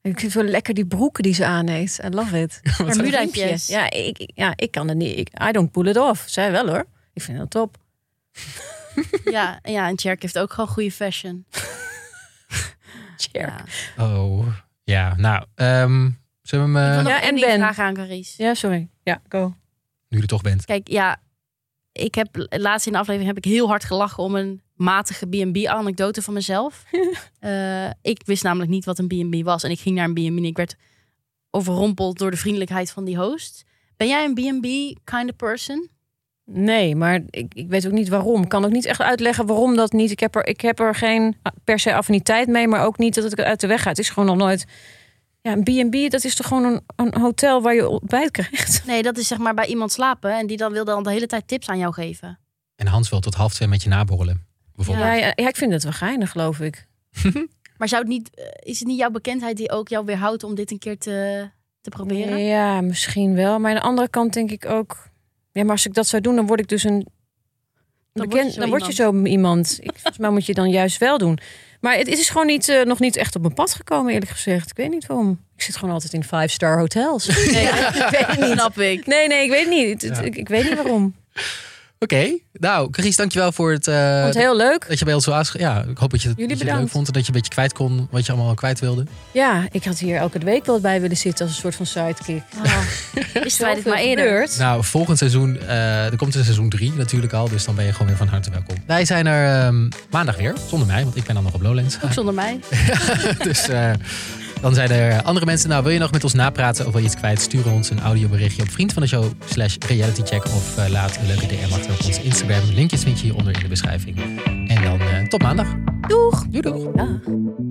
Ik vind wel lekker die broeken die ze aan heeft. I love it. Wat zijn Bermuda dat? hemdjes. Ja ik, ik- ja, ik kan het niet. Ik, I don't pull it off. Zij wel hoor. Ik vind dat top. ja, ja, en Tjerk heeft ook gewoon goede fashion. Cheer. Ja, Oh, ja. Nou, ehm zullen we hem, eh, Ik wil nog Ja, één en ding Ben. vragen aan Carice. sorry. Ja, go. nu je er toch bent. Kijk, ja, ik heb laatst in de aflevering heb ik heel hard gelachen om een matige B&B-anekdote van mezelf. Eh, ik wist namelijk niet wat een B&B was. En ik ging naar een B&B en ik werd overrompeld door de vriendelijkheid van die host. Ben jij een B&B kind of person? Nee, maar ik, ik weet ook niet waarom. Ik kan ook niet echt uitleggen waarom dat niet. Ik heb er, ik heb er geen per se affiniteit mee, maar ook niet dat het uit de weg gaat. Het is gewoon nog nooit. Ja, een B&B, dat is toch gewoon een, een hotel waar je ontbijt krijgt? Nee, dat is zeg maar bij iemand slapen. En die dan wil dan de hele tijd tips aan jou geven. En Hans wil tot half twee met je naborrelen. Bijvoorbeeld. Ja, ja, ja, ik vind het wel geinig, geloof ik. Maar zou het niet, eh, is het niet jouw bekendheid die ook jou weerhoudt om dit een keer te, te proberen? Ja, misschien wel. Maar aan de andere kant denk ik ook... Ja, maar als ik dat zou doen, dan word ik dus een... word je bekend, zo dan word je zo iemand. Ik, volgens mij moet je dan juist wel doen. Maar het, het is gewoon niet, eh, nog niet echt op mijn pad gekomen, eerlijk gezegd. Ik weet niet waarom. Ik zit gewoon altijd in five-star hotels. Nee, ik weet het niet. Snap ik. Nee, nee, ik weet niet. Het- het- Ja. ik, ik weet niet waarom. Oké, nou, Chris, dankjewel voor het. eh, Ik vond het heel leuk. dat je bij ons zo aanschreef. Ja, ik hoop dat je, het- Jullie dat je het leuk bedankt. vond en dat je een beetje kwijt kon wat je allemaal kwijt wilde. Ja, ik had hier elke week wel bij willen zitten als een soort van sidekick. Oh. wisten wij dit maar Zoveel eerder. gebeurt. Nou, volgend seizoen, eh, er komt een seizoen 3 natuurlijk al, dus dan ben je gewoon weer van harte welkom. Wij zijn er ehm, maandag weer, zonder mij, want ik ben dan nog op Lowlands. Ook zonder mij. dus eh, dan zijn er andere mensen. Nou, wil je nog met ons napraten of wil je iets kwijt? Stuur ons een audioberichtje op vriend van de show slash realitycheck of eh, laat een leuke DM achter op ons Instagram. Linkjes vind je hieronder in de beschrijving. En dan eh, tot maandag. Doeg! Doei doei. Ja.